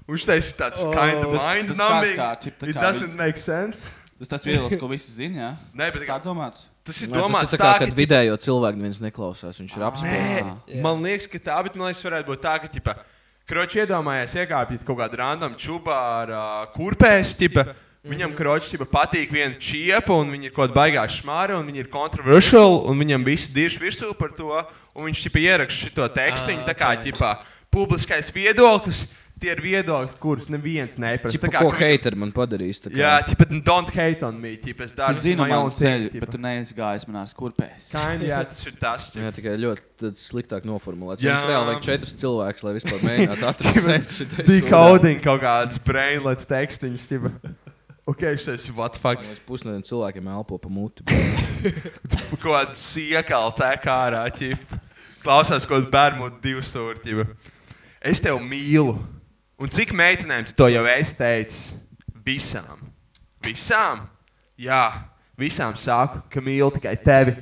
Viņš teica, tāds Oh, kind of tas- mind tas tāds numbing. kā, tip, tā It kā doesn't make sense. Tas tas viedoklis, ko visi zina. jā? Nē, bet Tā kā, domāts. tas ir Nē, domāts tas ir tā, ka ka vidējo cilvēku neviens neklausās. Viņš ir apspiesti. Ah, Nē, man liekas, ka tā, bet man liekas, varētu būt tā, ka, tipā, kroči iedomājās, iekāpjat kaut kādā randam čubā ar uh, kurpēs, tipā. Viņam Mhm. kroči tipa, patīk viena čiepa, un viņa ir kaut kāda baigā šmāra, un viņa ir kontroversiāla, un viņam visi dirž virsū par to. Un viņš tipa, ieraksta šo tekstu, Ah, viņa tā kā ķipā, publiskais viedoklis. Tie ir viedokļi, kurus neviens neprasa. Čipa, Tā kā ko ka- heiteri man padarīs? tā kā? Jā, tipa, don't hate on me, tipa, es Tu daru zini, my man own ir thing, ceļš, bet tu neizgājies manās kurpēs. Kind, jā, tas ir tas. tipa. Jā, tikai ļoti tad sliktāk noformulēts. Jā. Jā, Mums reāli vajag četrus cilvēkus, lai vispār mēģinātu atrast sensu šitai sūdā. Decoding kaut kādas brainlets tekstiņas. Tipa. Ok, šis ir what the fuck. Man liekas, Pusnodien cilvēkiem elpo pa muti. Kaut kāds siekāli tā kā ārā, ķip. Klausās kaut kādu bērnu divu stūri, ķip. Es tevi mīlu. Un cik meitenēm tu to jau esi teicis? Visām. Visām? Jā, visām saku, ka mīlu tikai tevi.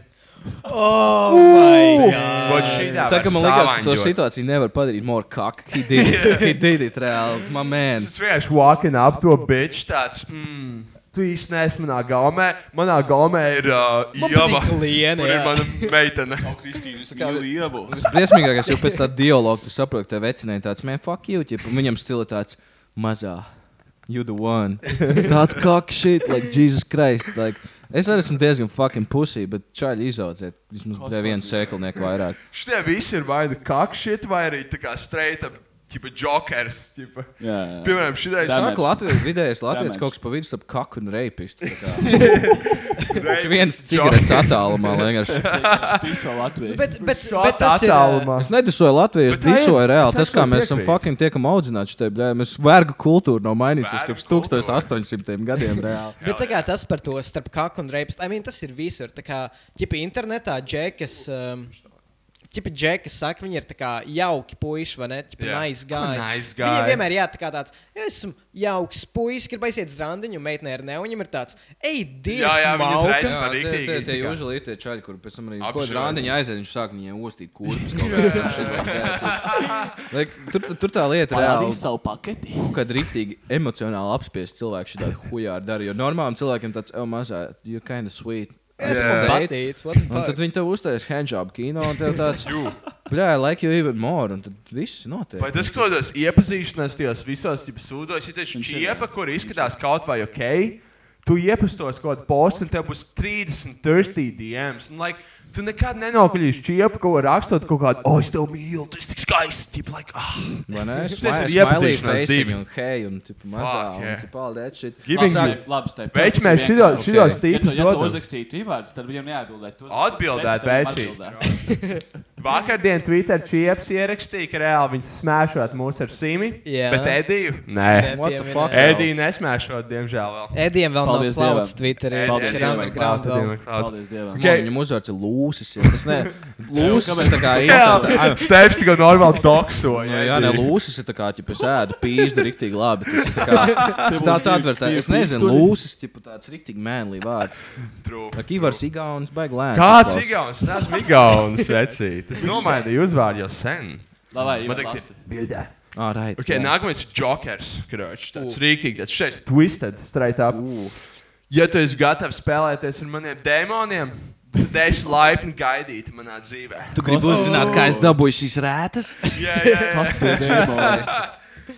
Oh, Tā kā man liekas, ka to situāciju nevar padarīt more cock. He did it, he did it reāli. My man. Tas vienkārši walking up to bitch tāds. Mm. Tu īsti neesi manā gaumē. Manā gaumē ir uh, Man Ieva. patīk liene, Kur ir jā. mana meitene? Kristīna, es mīlu ievu. Tas briesmīgākais jau pēc tā dialoga, tu saproti, ka tev vecinēja tāds, man fuck you, ķip, un viņam stila tāds mazā. You the one. Tāds cock shit, like Jesus Christ. Like, es arī esmu diezgan fucking pusī, bet čaļi izaudziet. Vismaz pie viena sēklinieka vairāk. Šitie visi ir vai nu kakšķi, vai arī tā kā streita. tipa jokers. Tipa. Jā, jā. Piemēram, šī Tā ideja nav Saka, Latvijas vidējais Latvijas Damage. kaut kas pa vidu starp kaku un reipistu. tā kā. Viņš viens cigaretes attālumā. vienkārši. Visu Latviju. Bet, bet, bet Šāda tas ir. ā, attālumā. Es nedesoju Latviju, es Bet tā ir- desoju reāli. Tas, es kā absolūti mēs esam piekrītu. fucking tiekam audzināti šitai, bļā, mēs vergu kultūru nav mainījusies Vergu kopš 1800 gadiem reāli. Bet tā kā tas par to starp kaku un reipistu, I mean, tas ir visur. Tā kā ķipa internetā džekas. Um, Čipa džekas saka, viņi ir tā kā jauki puiši, vai ne? Čipa Jā. nice guy. Nice guy. Viņiem vienmēr jā, tā kā tāds, es esmu jauks puisis, grib aiziet zrandiņu, meitene ir ne, un viņam ir tāds, ej, dievs, Jā, jā, viņus mauka. aiz- Jā, Vispār tie- tie- rīktīgi, Tie kā. jūžēlīja tie čaļi, kur pēc tam arī Apžēlas. kaut kādā rāniņā aiziet, viņš sāk viņai ostīt kurpes kaut kādas shit like that. Like, tur- Tur tā lieta reāli. Parādīs savu paketi. kaut kādā rīktīgi emocionāli apspiesti cilvēku šādā hujā ar darījumu. Jo normālam cilvēkam tas ir mazā, you kind of sweet. Es Jā. esmu patīts, what the Un tad fuck. viņi tev uztaisīs handžābu kino, un tev tāds - bļā, like you even more, un tad viss notiek. Vai tas kaut kādos iepazīšanās tajos visos tipa sūdos, ir tieši čiepa, kur izskatās kaut vai ok? Tu iepastos kaut kādu postu, un tev būs 30, 30 DMs. Un, like, tu nekad nenokļūsi čiepa, ko rakstot kaut kādu, oh, es tev mīlu, tu esi tik skaists. Tipa, like, ah. Vai ne? Jums taču ir Smiley iepazīšanās face, divi. un hei, un tipu mazā, Fuck, un yeah. tipu all that shit. Giving Sāk- you- Labi, tā ir. Veči, mēs šitos Ok. okay. Ja tu, tipus ja tu dodam. uzrakstītu īvārdus, tad viņam neatbildētu. Tu uzrakstītu Atbildēt, tekstus, veči. tad atbildē. Vakardien Twitter čieps ierakstīja, ka reāli viņas smēšot mūs ar simi, Jā. bet Ediju? Nē. What the Nepieminē. fuck? Ediju nesmēšot, diemžēl vēl. Ediem vēl nav Paldies plauts Dievam. Twitterī, Paldies viņš ir Dievam. underground vēl. Paldies Dievam. Come on, Viņam uzvārds ir lūsis. ja Tas ne, lūsis ir tā kā īstenībā. Steps tikai normāli doksoja. Nu, jā, ne lūsis ir tā kā, ja es ēdu pīzdu rīktīgi labi. Tas ir tā kā, tas tāds atvērtājs. Es nezinu, lūsis ir tāds rīktīgi mēnlī vārds. True. Kā Kīvars Igauns baigi lēns. Kāds ir izklausās. Igauns? Tas bija Igauns vecīt. Es nomainīju uzvārdu jau sen. Labi, Man Ivar, liekas, lasi. bildē. Ā, right, Okay, jā. nākamais ir Jokers. Kroč, tāds rīktīgs, tāds šeit twisted, straight up. Ja tu esi gatavs spēlēties ar maniem dēmoniem, tad es laipni gaidītu manā dzīvē. Tu gribi uzzināt, kā es dabūju šīs rētas? Jā, jā, jā. Kas ir dēmonis?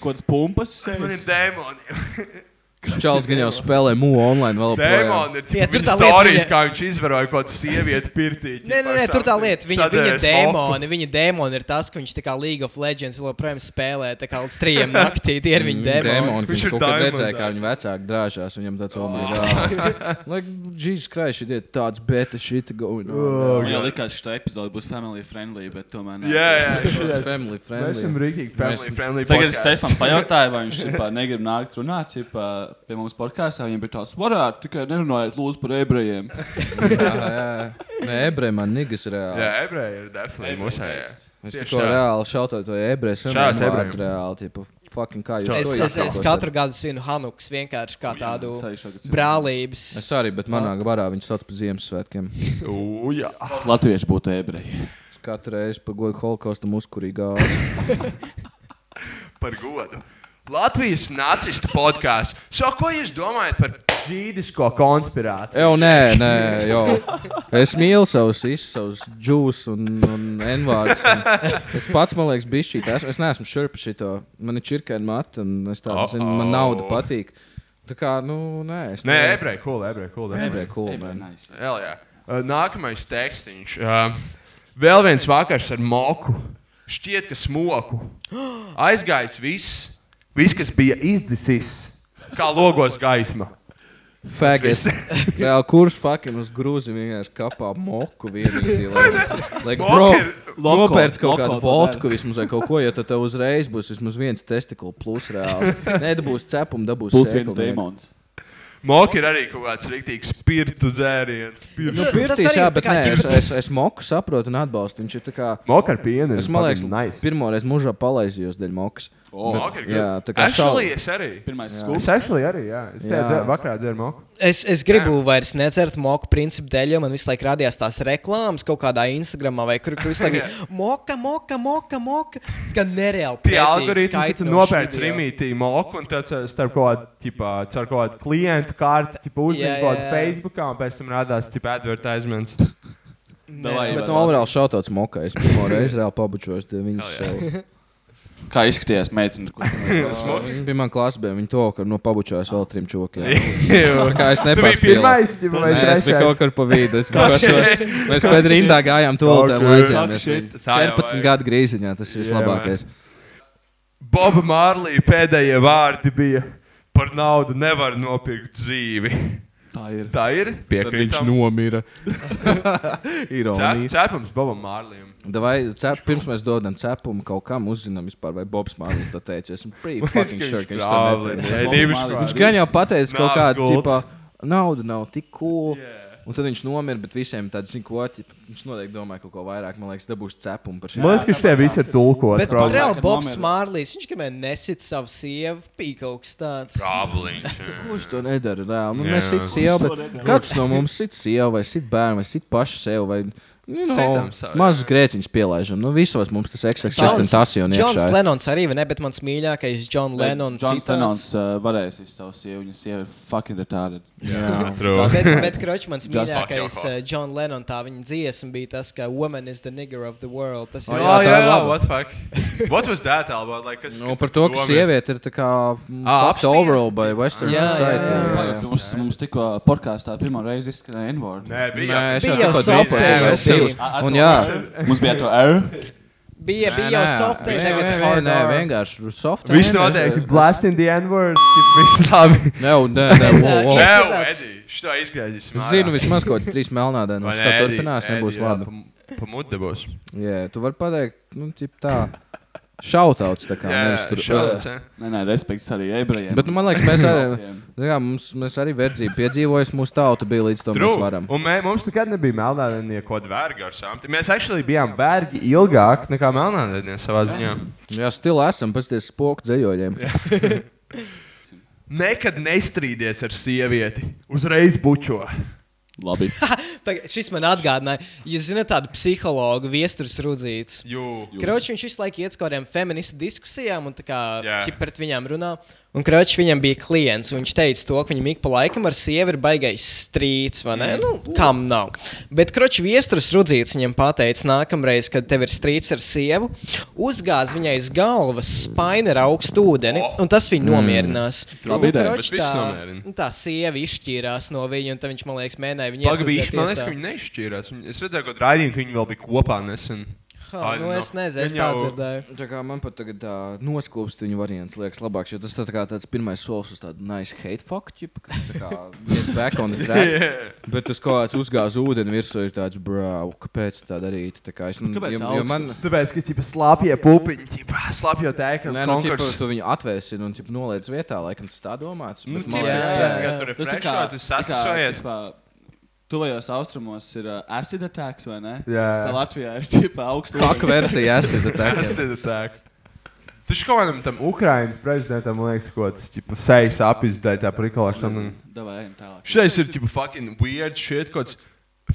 Kāds pumpas? Maniem dēmoniem. Čāls gan jau spēlē mūžu online vēl. joprojām. Dēmoni ir Jā, tur tāds tā lieta, stāstījis, viņa- kā viņš izvaroja kaut kādu sievieti pirtī. Nē, nē, nē, tur tā lieta. Viņa, viņa, dēmoni, viņa dēmoni ir tas, ka viņš tā kā League of Legends joprojām spēlē tā kā līdz trijiem naktī. Tie ir viņa dēmoni. Dēmoni, Viņš viņš ir kaut kad Diamond Oh. redzēja, kā Dad. viņa vecāki drāžās. Viņam tāds omīgs. Like, Jesus Christ, šī ir tāds beta shit going Oh, on. Jā, likās, ka šī epizode būs family friendly, bet tomēr. nē. Jā, jā. It's Family Mēs esam friendly. rīkīgi family friendly. Tagad es podcast. Stefanam pajautāju, vai viņš vispār negrib nākt runāt ķipā, pie mums podkāstā. Viņam bija tāds, varētu tikai nerunājiet lūdzu par ebrejiem. Jā, jā. Nē, ebrei man nigas reāli. Jā, ebreji ir definitely mūsējie. Es Tieši tikko tā. reāli šautu to ebreju. Šāds Šāds ebrejiem. ebrejs. Reāli, tipu, fucking kā jūs Es, to es, es izsakoties? katru gadu svinu Hanukas vienkārši kā tādu Saišā, kas ir. brālības. Es arī, bet manā garā viņš sauc par Ziemassvētkiem. Ujā. Latvieši būtu ebreji. Es Katru reizi par godu holokaustam uzkurīgā. gāju. par godu. Latvijas nacistu podkāsts. So, ko jūs domājat par žīdisko konspirāciju? Jau nē, nē, jau. Es mīlu savus visus, savus džūs un, un envārdus. un Es pats, man liekas, bišķīt. Es, es neesmu šurp šito. Man ir čirkaini mati un es tādu, zinu, man nauda Uh-oh. patīk. Tā kā, nu, nē, es Nē, ebreji, cool, ebreji, cool. Ebreji, cool, Ebreji, man. nice. Hell yeah. Uh, Nākamais tekstiņš. Uh, Vēl viens vakars ar moku. Šķiet, ka smoku. Aizgājis viss, viss kas bija izdzisis. Kā logos gaisma. Faggot. Reāli, kurš fucking uz grūzi vienkārši kapā moku vienīgi. Like, bro, Moku ir- loko, nopērc kaut loko kādu tu vodku vismaz vai kaut ko, ja tad tev uzreiz būs vismaz viens testikls plus reāli. Nedabūs cepumu, dabūs Plus sēklu viens vienkārši. demons. Moka ir arī kaut kāds rīktīgs spirtu dzēriens. Nu, Tas- tas arī pirtīs, jā, ir tā bet kā nē, es, ķirts. es, es moku saprotu un atbalstu. Viņš ir tā kā. Moka ar pienu. Es man liekas, nice. pirmo reizi mūžā palaizījos dēļ mokas. Moka ir jā, tā grūti. kā Actually, šau- es arī. Pirmais Es skūps. actually arī, jā. Es Jā. tajā dzē- vakarā dzēru moku. Es, es gribu vairs necert moku principu dēļ, jo man visu laiku radījās tās reklāmas kaut kādā Instagram vai kur kur visu laiku. bija, Moka, moka, moka, moka. Tā kā nereāli. Tie pretīgi algoritmi, kas skaitinoši nopērc video. rīmītī moku, un tad eh, starp kaut kādu, tipā, caur kaut kādu klientu karti, Jā, uzzina jā, kaut kādu jā. Facebookā, un pēc tam rādās, tipā, advertisements. Davai, Bet Ivar, no Aurēla šautāts mokai. Es pirmo reizi reāli pabučos dēļ viņas. sev. lasi. Kā izskatījās meitene? kur tu runā? Viņa bija man klasbē, viņa to, ka no pabučos vēl trim čokiem. Jā, Tā kā es Tu biji nepaspēju. pirmais, ģipa, vai Nē, es biju kaut trešais? kur pa vidu. Es biju kaut kur. Mēs pēc rindā gājām to Kaut tādu kur. laizēm. Fuck shit, tā jau 14 vajag. gadu grīziņā tas ir Jā, vislabākais. Boba Mārlī pēdējie vārdi bija: par naudu nevar nopirkt dzīvi. Tā ir. Tā ir Tad viņš piekrītam. nomira. Cep- Ironija. Cepams Bobam Mārlim. Vai cep, pirms mēs dodam cepumu kaut kam, uzzinām vispār, vai Bobs Mārcis to teica. Esmu pretty fucking sure, ka viņš to neteica. Viņš Viņš gan jau pateica kaut Nāves kādu gulds. tipu, nauda nav tik cool. Jā. Un tad viņš nomira, bet visiem tāds, zinu, ko ķip, viņš noteikti domāja kaut ko vairāk. Man liekas, dabūs cepumu par šīm Man liekas, ka šitie visi ir tulkoti. Bet reāli Kad Bobs nomira. Mārlīs, viņš gribēja nesit savu sievu, pīkauks tāds. Prābliņš. Kurš to nedara? Reāli. Nu, Jā. mēs sit sievu, bet katrs no mums sit sievu, vai sit bērnu, vai sit pašu sev. Vai... You know, Sitam savu, jā. mazus grēciņus pielaižam. Nu, visos mums tas eksistents, tas jau Džons ir. Lenons arī, vai ne? Bet mans mīļākais Džons Lenons. Džons citāts. Lenons uh, varēs izspiest savu sievu. Viņa sieva ir fucking retarded. Atrodas. Bet, bet Kročmans Just mīļākais eh, fuck your Džons Lenons, tā viņa dziesma bija tas, ka Woman is the nigger of the world. Tas Oh, ir jā, Oh, tā yeah, ir laba. what the fuck? What was that album? Like, kas, Nu, kas par tad to, ka domā? sieviete ir tā kā Ā, fucked overall by Western Ah, Jā, jā, society. jā. jā, Pagaid, jā. Mums, mums tikko podkāstā pirmo reizi izskanēja N-word. Nē, bija. Nē, es jau Bija jau tāpat soft biju, tail, jā, es jau- es jau- Un jā. Mums bija to R. Bija, bija jau software, tagad hard Nē, R. vienkārši soft. Viņš noteikti blast in the N-word. Viņš labi. Nē, nē, nē, wow, wow. Nē, tāds- Edi, šito izgriežas. Es zinu, vismaz kaut kādas trīs melnādienas. Tā turpinās, nebūs labi. Pamūti būs. Jā, tu vari pateikt, nu, tip tā. Šautauts, tā kā nevis tur šāds. eh. Nē, nē, respekts arī ebrejiem. Bet, nu, man liekas, mēs arī, Baltiem. tā kā, mums, mēs arī verdzību piedzīvojam, mūsu tauta bija līdz tam, True. mēs varam. Un mē, mums nekad nebija melnādainie kaut kādi vergi ar samti. Mēs actually bijām vergi ilgāk nekā melnādainie savā ziņā. Jā, stila esam, pasties spoku dzējoļiem. Nekad nestrīdies ar sievieti. Uzreiz bučo. Labi. Tagad, šis man atgādināja, jūs zināt, tādu psihologu viestures rudzītes. Jū. Kročs viņš visu laiku iet uz kaut kādiem feministu diskusijām, un tā kā Jā. yeah. pret viņiem runā. Un Kročs viņam bija klients, un viņš teica, to, ka viņam ik pa laikam ar sievu ir baigais strīds, vai ne? Nu, kam nav? Bet Kročs viestures rudzīts viņam pateica, nākamreiz, kad tev ir strīds ar sievu, uzgāz viņai uz galvas spaini ar augstu ūdeni, un tas viņu nomierinās. Mm. Labi ideja, bet viss nomierina. tā sieva izšķīrās no viņa, un tad viņš, man liekas, mēģināja viņu Pagaidīšu, iesūdzēt man liekas, tiesā. ka viņi nešķīrās. Viņi- Es redzēju, ka raidījumi, ka viņi vēl bija kopā nesen. Ha, I don't nu, es know. nezinu, es Viņi tā jau- dzirdēju. Tā kā man pat tagad tā noskūpst viņu variants liekas labāks, jo tas tā kā tāds pirmais solis uz tādu nice hate faktu, ķip, ka tā kā get back on the track. Yeah. Bet tas kaut kāds uzgāz ūdeni virsū ir tāds, brau, kāpēc tā darīt? Tā kā es, nu, kāpēc jo, jo augstu? man, Tāpēc, ka tipā slāpja pupiņi, tipā slāpja tēkļi. nē, nu, tipa, tu viņu atvēsini un, tipa, noliec vietā, laikam tas tā domāts. Nu, bet tipa, man jā, liekas- jā, jā, tur ir Tas Nu, tā frešo, kā- tas tā kā, sasasojies. tipā, Tuvajos austrumos ir uh, acid attacks, vai ne? Jā. Tā Latvijā ir tipā augsta Kaka versija esat attack. Tas ir tā. Taču kaut kādam tam Ukraiņas prezidentam liekas, ko tas tipa sejas apizdēja tā prikolāšana. Davai, ejam tālāk. Šais ir tipa fucking weird shit, kaut kāds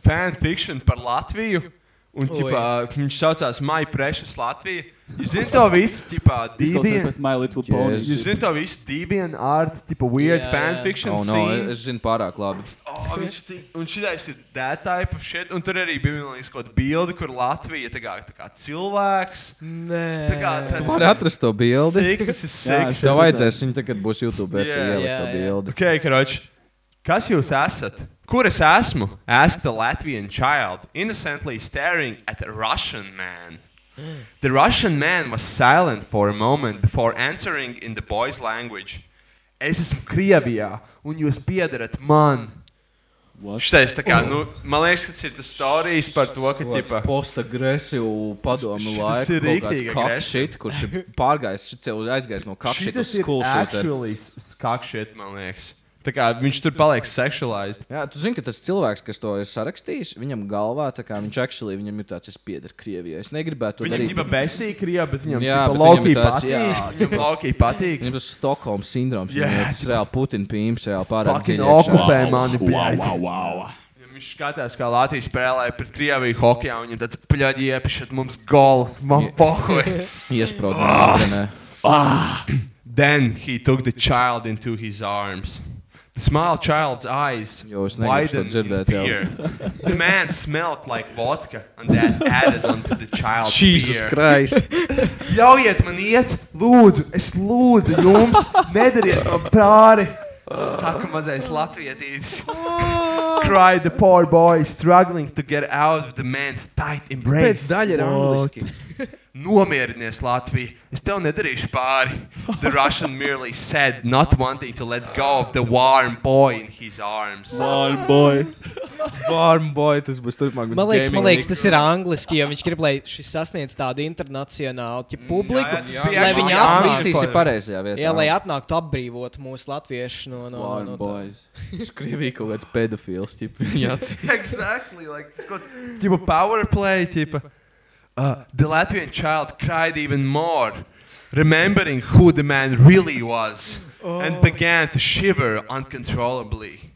fanfiction par Latviju. Un tipā, viņš saucās My Precious Latvija. Jūs zināt to visu, tipā, Izklausās dīdien. pēc My Little Pony. Jēzus. Jūs zināt to visu, dīdien art, tipa weird Jā, jā. fanfiction. Oh, no, es- es zinu pārāk labi. Oh, viņš tik- un šitais ir that type of shit. Un tur arī bija man liekas, kaut kāda bilde, kur Latvija tā kā, tā kā cilvēks. Nē, Tā kā Tu vari atrast to bildi. Tik, tas ir Jā, sick. šis Tev ir vajadzēs, viņa tagad būs YouTube Jā, versija, ielikt jā, to jā. bildi. Ok, karoči. Kas jūs esat? Kur es esmu? Ask the Latvian child, innocently staring at a Russian man. The Russian man was silent for a moment before answering in the boy's language. Es esmu Krievijā, un jūs piedarat man. What? Šitais, tā kā, nu, man liekas, ka tas ir tas stāstījis par to, ka, tipā, postagresīvu padomu Šis ir laiku. kaut kāds rīktīgi cock agresivi. shit, Kurš ir pārgājis, šis jau aizgājis no kakšķa uz skolu eh. eh? šūtēm. skakšķis, man liekas. Tā kā viņš tur paliek seksualizēts. Jā, tu zini, ka tas cilvēks, kas to ir sarakstījis, viņam galvā tā kā viņš actually viņam ir tāds, es piedaru Krievijai. Es negribētu to Viņam darīt. jau besīk, Krievijā, bet viņam jau Jā, bet viņam lauki ir tāds, patīk. jā, Viņam lauki patīk. Viņam tas Stokholmas sindroms, Jā. yeah. viņam tas reāli Putina pīns, reāli pārāk Fucking dziļi. okupē iekšā. mani, Wow, bļaļ. wow, wow. Ja Viņš skatās, kā Latvija spēlē pret Krieviju hokeja, un viņam tāds pļaļi iepišķi, mums gols, man pohoj. Iesprūdu. Ah, nometnē. Then he took the child into his arms. The small child's eyes Jo, es negribu to widened in dzirdēt, jau. fear. The man smelled like vodka, and that added onto the child's Jesus fear. Christ! Ļaujiet man iet, lūdzu, es lūdzu jums, nedariet man pāri. Saka mazais latvietītis. cried the poor boy, struggling to get out of the man's tight embrace. Pēc daļa ir angliski. Nomierinies, Latvija. Es tev nedarīšu pāri. The Russian merely said, not wanting to let go of the warm boy in his arms. Varm boy. Varm boy, tas būs turpmāk. Man liekas, man liekas, tas ir angliski, jo viņš grib, lai šis sasniedz tādu internacionālu ja publiku, Mm, jā, tas bija lai actually viņi angliski. atnāktu. ambīcijas ir pareizajā vietā. Jā, lai atnāktu apbrīvot mūsu latviešu no, no, Varm no, no boy. Krievija kaut kāds pedofils. tip, jāc- exactly like this got tipo power play tipo uh, the Latvian child cried even more remembering who the man really was and began to shiver uncontrollably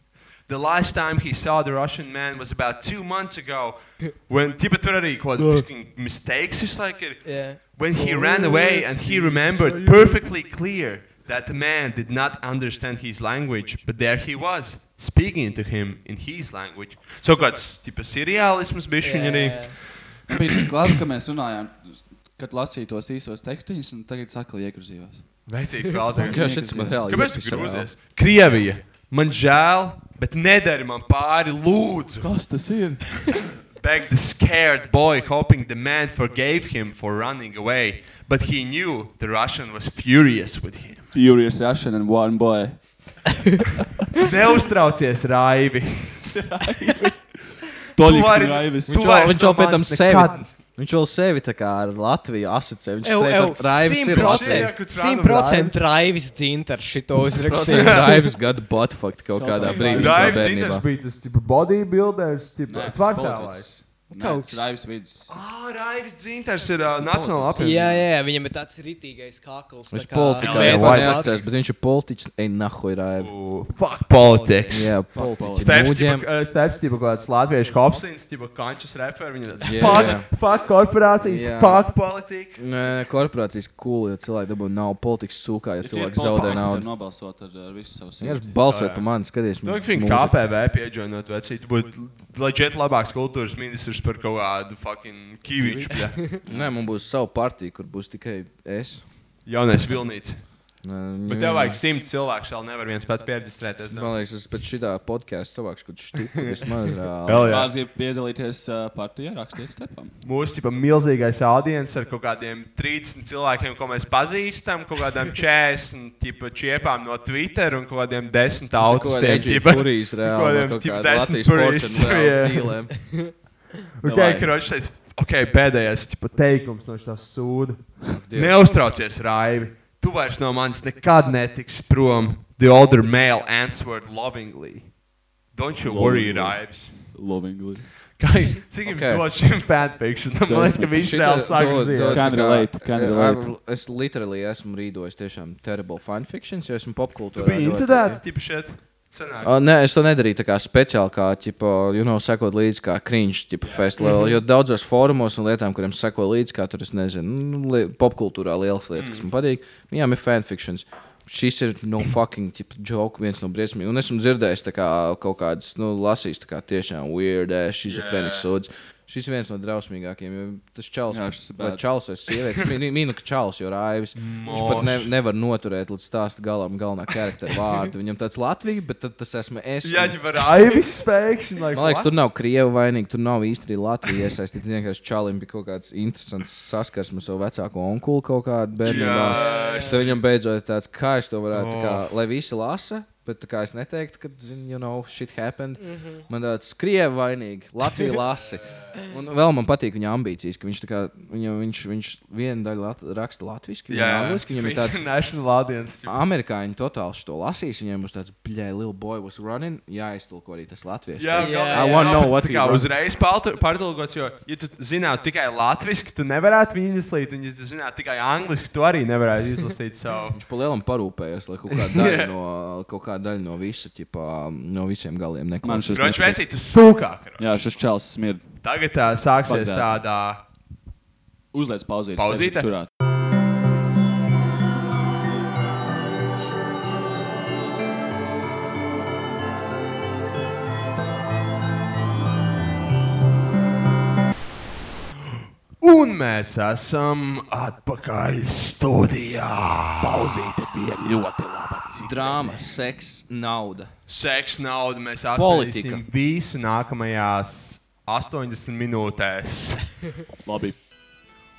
the last time he saw the Russian man was about two months ago when Tipa tur arī kaut kādi fucking mistakes is like it. Yeah. When he ran away and he remembered perfectly clear that the man did not understand his language, but there he was, speaking to him in his language. So kāds tipa seriālisms bija viņa arī. Man Nu, bija tik labi, ka mēs runājām, kad lasīju tos īsos tekstiņus, un tagad sakla iegrozījās. Veicīgi Jā, klausies. šis man reāli. Kāpēc tu iepisā vēl. grūzies? Krievija. Man žēl, bet nedari man pāri, lūdzu. Kas tas ir? Begged the scared boy, hoping the man forgave him for running away. But he knew the Russian was furious with him. Furious Russian and Warm boy. Neuztraucies, Raivi. Toļiks Tu vari- Raivis. tu Viņš vēl, vairs viņš vēl no pēc tam manis nekad. sevi. Viņš vēl sevi tā kā ar Latviju asociē. Viņš Ew, ew, teica, ka Raivs ir Šie, 100% kad random 100% Raivs dzintars šito uzrakstīja. Raivs gada botfakt kaut kādā brīdī. savā Raivs Zinters bērnībā. bija tas tipa bodybuilders, tipa Nē, svarcēlājs. Kaut Kaut kas. kas. Raivis vidus. Ah, Raivs Zinters ir uh, nacionāla Jā, apvienība. jā, jā, viņam ir tāds rītīgais kakls. tā Viņš kā- politikā Jā, jau vai- neatsakās, bet viņš ir politiķis. Ej, nahoj, Raiv. Fuck politics. Jā, Steps, politiķis. tipa, steps, tipa, kaut kāds latviešu kopsins, tipa, kančas reper, viņa tāds, Jā, fuck, jā. fuck korporācijas, Jā. fuck politika. Nē, korporācijas cool, ja cilvēki dabū naudu, politikas sūkā, ja cilvēki zaudē naudu. Nobalsot ar, ar visu savu Vienkārši sirdi. balsojiet par mani, skatieties, Tu vajag viņu KPV pieģoinot vecīt, būtu leģiet labāks kultūras ministrs par kaut kādu fucking Kīviču, bļa. Nē, man būs sava partija, kur būs tikai es. Jaunais Vilnīts. Nē, Bet jā. tev vajag simts cilvēku, šādi nevar viens pats pierģistrēties. Man liekas, es pēc šitā podkāstu savākšu kaut štuku vismaz. reāli. Vēl Kāds grib piedalīties uh, partijā, rakstiet stepam. mūsu tipa, milzīgais audience ar kaut kādiem 30 cilvēkiem, ko mēs pazīstam, kaut kādām 40 tipa, čiepām no Twitter un kaut kādiem 10 autostiem. tipa. Furijas reāli. Kaut kādiem no Kaut tipa kāda desmit Latvijas Furijas, fortune reāli jā. dzīlēm. Okay, Vai. kročs teica, okay, pēdējais tipa, teikums no šīs sūda. Dievs. Neuztraucies, Raivi. Tu vairs no manis nekad netiksi prom. The older male answered lovingly. Don't you worry, Lovingly. Raivis. Lovingly. Kā- Cik jums Okay. okay. dod šim fanfikšanam? Man liekas, ka viņš Šitā reāli sāk dod- dod ziet. Can tā kā- relate, can Eh, relate. ar- Es literally esmu rīdojis tiešām terrible fanfictions, jo esmu popkultūrā. Tu biji ļoti- into that? Tipa šeit. Sanāk. Ah, Nē, es to nedarīju tā kā speciāli, kā, tipo, you know, sekot līdzi, kā krīņš, tipo, festivālā. Jo daudzos fórumos un lietām, kuriem seko līdzi, kā tur, es nezinu, nu, li popkultūrā lielas lietas, Mm. kas man patīk, viņām ir fanfictions. Šis ir no fucking tipo, joke, viens no briesmīgiem. Un esmu dzirdējis tā kā, kaut kādas, nu, lasījis tā kā tiešām weird, schizofrēnisks sods. Šis ir viens no drausmīgākajiem. jo Tas čels, Jā, šis ir vai bad. čels vai sieviete, mī- mīnu, ka čels jau rāvis. Viņš pat ne, nevar noturēt līdz stāsta galam galvenā karaktera vārdu. Viņam tāds Latvija, bet tad tas esmu es. Jā, un- jau ar aivis spēkšanu. Like, Man liekas, tur nav krievi vainīgi, tur nav īsti arī Latvija iesaistīta. Vienkārši čalim bija kaut kāds interesants saskarsme ar savu vecāko onkuli kaut kādu bērnu. Tad viņam beidzot ir tāds, kā es to varētu, tā kā, lai visi lasa. Bet tā kā es neteiktu, ka, zin, you know, shit happened. Mm -hmm. Man tāds krievi vainīgi, Latvija lasi. Un vēl man patīk viņa ambīcijas, ka viņš, tā kā, viņa, viņš, viņš vienu daļu lat raksta latviešu, vienu angliski. Viņam ir tāds National audience. amerikāņi totāli to lasīs. Viņiem būs tāds, bļai, little boy was running. Jā, iztulko arī tas latviešu. Jā, teikts. jā, I want to know what tā he kā was. uzreiz paltu- pārtulkots, jo, ja tu zinātu tikai latviešu, tu nevarētu viņu izlasīt, un, ja tu zinātu tikai angliski, tu arī nevarētu izlasīt savu. Viņš pa lielam parūpējies, lai kaut kāda daļa, yeah. no, kaut kā daļa no visa, ķipā, no visiem galiem Man neklausās. šis Kroķis nepatīk. vecīt, tu sūkā. kroč. Jā, šis čels smird. Tagad tā sāksies Pagaid. tādā. Uzliec pauzīti. Pauzīte? Turēt. Un mēs esam atpakaļ studijā. Pauzīte bija ļoti laba. Drāma, seks, nauda. Seksa nauda mēs Politika. atradīsim visu nākamajās 80 minūtēs. Labi.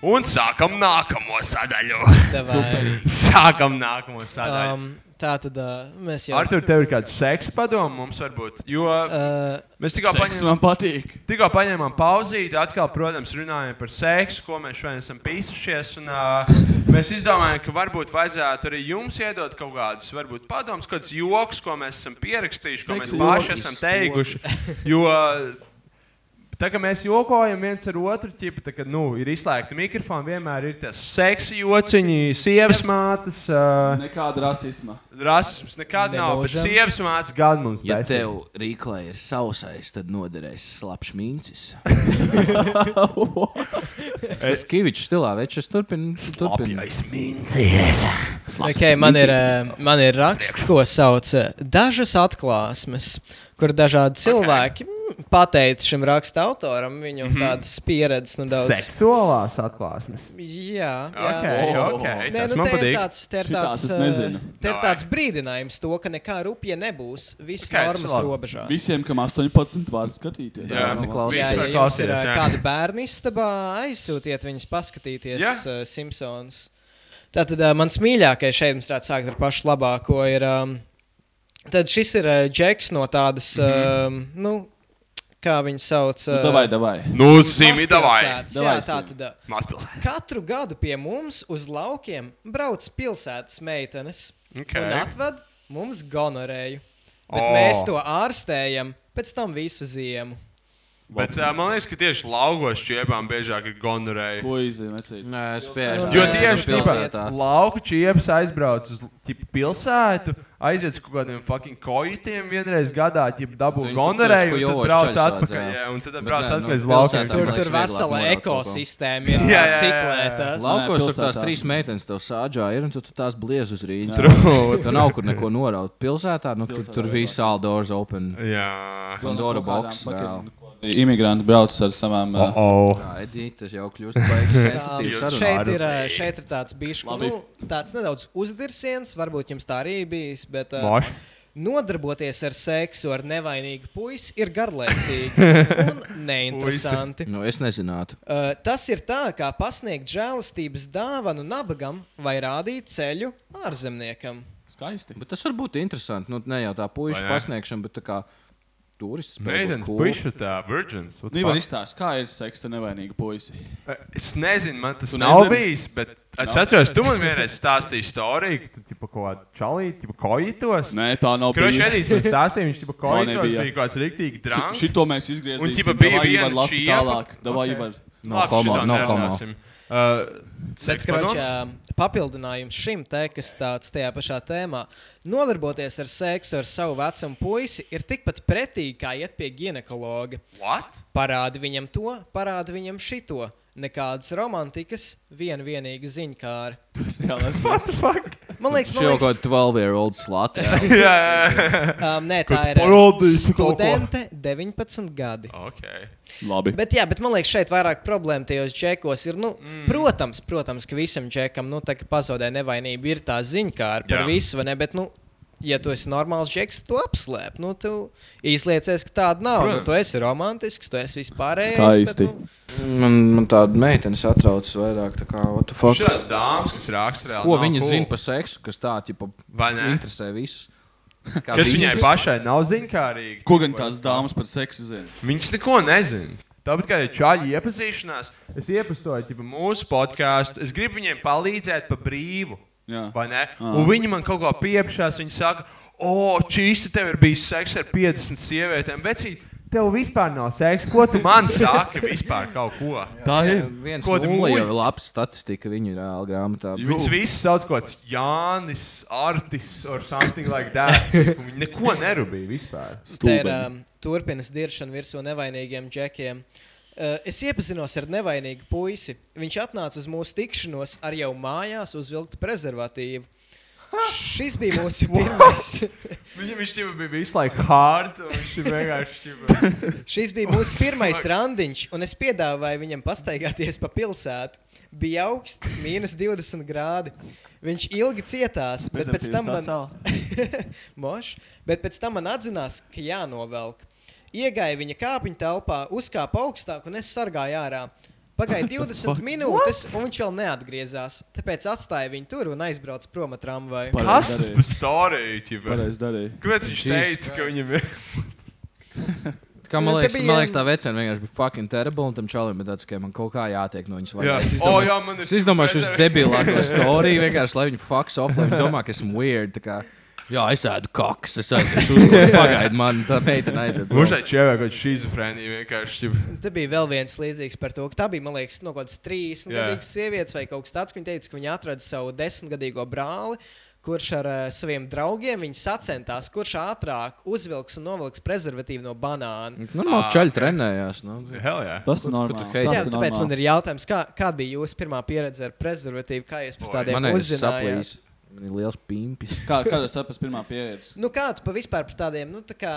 Un sākam nākamo sadaļu. Davai. Sākam nākamo sadaļu. Um, tā tad uh, mēs jau. Ar to tev ir kāds seksa padoms mums, varbūt. Jo Uh, mēs tikko Seks paņēmām, man patīk. tikko paņēmām pauzīti, atkal, protams, runājām par seksu, ko mēs šodien esam pīsušies. Un, uh, mēs izdomājām, ka varbūt vajadzētu arī jums iedot kaut kādus varbūt, padomus, kādus joks, ko mēs esam pierakstījuši, ko mēs Seksa paši joki, esam sports. teikuši. Jo, Tā kā mēs jokojam viens ar otru, ķipa, tā, kad nu, ir izslēgta mikrofona, vienmēr ir tas seksa jociņi, sievas mātes. Uh, Nekāda rasisma. Rasisms nekad nav, bet Nelaužam. sievas mācās gan mums. Ja besīt. tev rīklē ir sausais, tad noderēs slapjš mīncis. es Kavičs stilā veicu, es turpinu. es turpinu. okay, man, ir, uh, man ir raksts, ko sauc uh, dažas atklāsmes, kur dažādi cilvēki mm, pateica šim raksta autoram viņu Mhm. mm -hmm. tādas pieredzes nedaudz. Seksuālās atklāsmes. Jā, jā. Okay, okay, Nē, tas nu, man te ir patīk. tāds, te ir Šitās tāds, es uh, nezinu. te ir Davai. tāds brīdinājums, to, ka nekā rupja nebūs. Viss Skaidrs, normas labi. robežās. Visiem, kam 18 var skatīties. Jā, neklaus- Jā, Viss ja var jums ir klausīties, jā. jā. kādi bērni istabā, aizsūtiet viņus paskatīties Jā. yeah. uh, Simpsons. Tātad uh, mans mīļākais šeit mums tāds sākt ar pašu labāko ir. Um, tad šis ir uh, Džeks no tādas, mm Mhm. -hmm. um, nu, kā viņu sauc. Nu, davai, davai. Nu, zimi, davai! mazpilsētas. Jā, Davai, tā Simi. tad. Uh, Mazpilsēta. Katru gadu pie mums uz laukiem brauc pilsētas meitenes Okay. un atved mums gonorēju. Bet O. oh. mēs to ārstējam pēc tam visu ziemu. Bet uh, man liekas, ka tieši laukos čiepām biežāk ir gonorēji. Ko izdarīt? Nē, es pieeju. Jo Nē, tieši nu, tādā pilsētā. veidā lauka čiepas aizbrauc uz ķipa, pilsētu, aiziet uz kaut kādiem fucking kojitiem vienreiz gadā, ja dabū Viņi gonorēju, tur un tad kujovoši brauc čaļus atpakaļ. vajadzēja. Jā, un tad Bet brauc nē, nu, atpakaļ uz laukiem. pilsētā Tur, man tur liekas, vesela vieglāk norādīt ekosistēma ir Jā, jā, jā, jā. ciklētas. Laukos Nē, tur tās pilsētā. trīs meitenes tev sāģā ir, un tu, tu tās bliez uz rīņu. True. Tur nav kur neko noraut. Pilsētā, nu, tur, tur viss all doors open. Jā. Pandora box. reāli. Imigranti brauc ar savām. Oh, Uh, oh. Jā, Edita, tas jau kļūst baigi sensitīvs Jūs sarunā. Šeit ir, ā, šeit ir tāds bijis nu, tāds nedaudz uzdirsiens, varbūt jums tā arī bijis. Bet, ā, Moš. nodarboties ar seksu ar nevainīgu puisi ir garlaicīgi un neinteresanti. Nu, es nezinātu. Uh, tas ir tā, kā pasniegt žēlastības dāvanu nabagam vai rādīt ceļu ārzemniekam. skaisti. Bet tas var būt interesanti. Nu, ne jau tā puikas Vai ne? pasniegšana, bet tā kā turists. Meitenes, puikas, tā, virgins. what the Nevar fuck? izstāstīt, kā ir seksa ar nevainīgu puisi. Es nezinu, man tas Tu nav nezini? bijis, bet es atceros, tu man vienreiz stāstīji stāstu, ka tu tipo ko čalīji, tipo kojitos. Nē, tā nav Kroķis bijusi. Edijs man stāstīja, viņš tipo kojitos nebija. bija kāds riktīgi drāmas. Šito mēs izgriezīsim. Un, ķipa, bija Davai, Ivar, viena lasi čiepa. tālāk. Davai, Ok. Ivar. No homo, no homo. Uh, Bet, kroķi, ā, papildinājums šim te, kas tāds tajā pašā tēmā, nodarboties ar seksu ar savu vecumu puisi, ir tikpat pretīgi kā iet pie ginekologa. What? Parādi viņam to, parādi viņam šito. Nekādas romantikas, viena vienīga ziņkāra. Jā, lai- What the fuck? Man liekas, Šī jau man kā liekas 12 year old slāte. um, nē, tā ir parodijas kaut ko. studente, 19 gadi. Ok. Labi. Bet, jā, bet man liekas, šeit vairāk problēma tajos džekos ir. Nu, mm. protams, protams, ka visam džekam, nu, tā kā pazudē nevainība, ir tā ziņa, kā ar par Jā. visu, vai ne? Bet, nu, ja tu esi normāls džeks, tu apslēp. Nu, tu izliecies, ka tāda nav. Nu, Protams. tu esi romantisks, tu esi vispārējais. Skaisti. Bet, nu, Man, man tāda meitene satrauc vairāk. Tā kā, what the fuck? Šādas dāmas, kas raksta reāli. Ko nav viņa cool. zina par seksu, kas tā tipa, Vai ne? interesē visus? Kā Kas visus? viņai pašai nav zinkārīgi? Ko gan tās dāmas par seksu zina? Viņas neko nezina. Tāpat kā ir čaļi iepazīšanās, es iepazīstināju viņu mūsu podkāstu. Es gribu viņiem palīdzēt pa brīvu. Jā. Vai ne? Un viņi man kaut ko piepšās. Viņi saka, o, čīsti, tev ir bijis seks ar 50 sievietēm. Vecīt, tev vispār nav seks. Ko tu man saki vispār kaut ko? Tā ir. Viens Ko tu nulle muļ? jau ir laba statistika viņu reāli grāmatā. Viņus visus sauc par Jānis, Artis, or something like that. Un Viņi neko nerūpīja vispār. Tā ir Stulbeni. um, turpinājums diršana virsū nevainīgiem džekiem. Uh, es iepazinos ar nevainīgu puisi. Viņš atnāca uz mūsu tikšanos ar jau mājās uzvilktu prezervatīvu. Šis bija mūsu pirmais. Viņam viņš ķipa bija visu laiku hard, un viņš ir vienkārši ķipa. Šis bija mūsu pirmais randiņš, un es piedāvāju viņam pastaigāties pa pilsētu. Bija augsts, minus 20 grādi. Viņš ilgi cietās, bet pēc tam man, Moš, bet pēc tam man atzinās, ka jānovelk. Iegāja viņa kāpņu telpā, uzkāpa augstāk un es sargāju ārā. Pagāja 20 minūtes, un viņš vēl neatgriezās. Tāpēc atstāja viņu tur un aizbrauca prom ar tramvaju. Kas tas par storiju, ķipa? Pareizi darīja. Kāpēc viņš teica, ka viņam ir? Kā Nu, man te liekas, bija- man liekas, tā vecena vienkārši bija fucking terrible, un tam čalam ir tāds, ka man kaut kā jātiek no viņas vaļā. Jā. Es O, izdomāju- jā, man ir Es izdomāju šo super- debilāko storiju, vienkārši lai viņi fucks off, lai viņi domā, ka esmu weird. tā kā, Jā, es ēdu kakas, es aizsūtu, pagaidu man, tā meitene aiziet. prom. Mužai čevē kaut kāda šizofrēnija vienkārši ķipa. Un Te bija vēl viens līdzīgs par to, ka tā bija, man liekas, no kaut kādas 30 Jā. gadīgas sievietes vai kaut kas tāds, ka viņa teica, ka viņa atrada savu desmitgadīgo brāli, kurš ar uh, saviem draugiem viņa sacentās, kurš ātrāk uzvilks un novilks prezervatīvu no banāna. Nu, Normāli čaļi trenējās. Nu. Hell jā. Tas ir tu normāli. heiti? Tas Jā, ir tāpēc man normāli. ir jautājums, kā, kāda bija jūsu pirmā pieredze ar prezervatīvu, kā jūs par Man tādiem ir uzzinājāt? saplīs. Man ir liels pimpis. Kā, kāda saprast pirmā pieredze? Nu, kā tu pa vispār par tādiem, nu, tā kā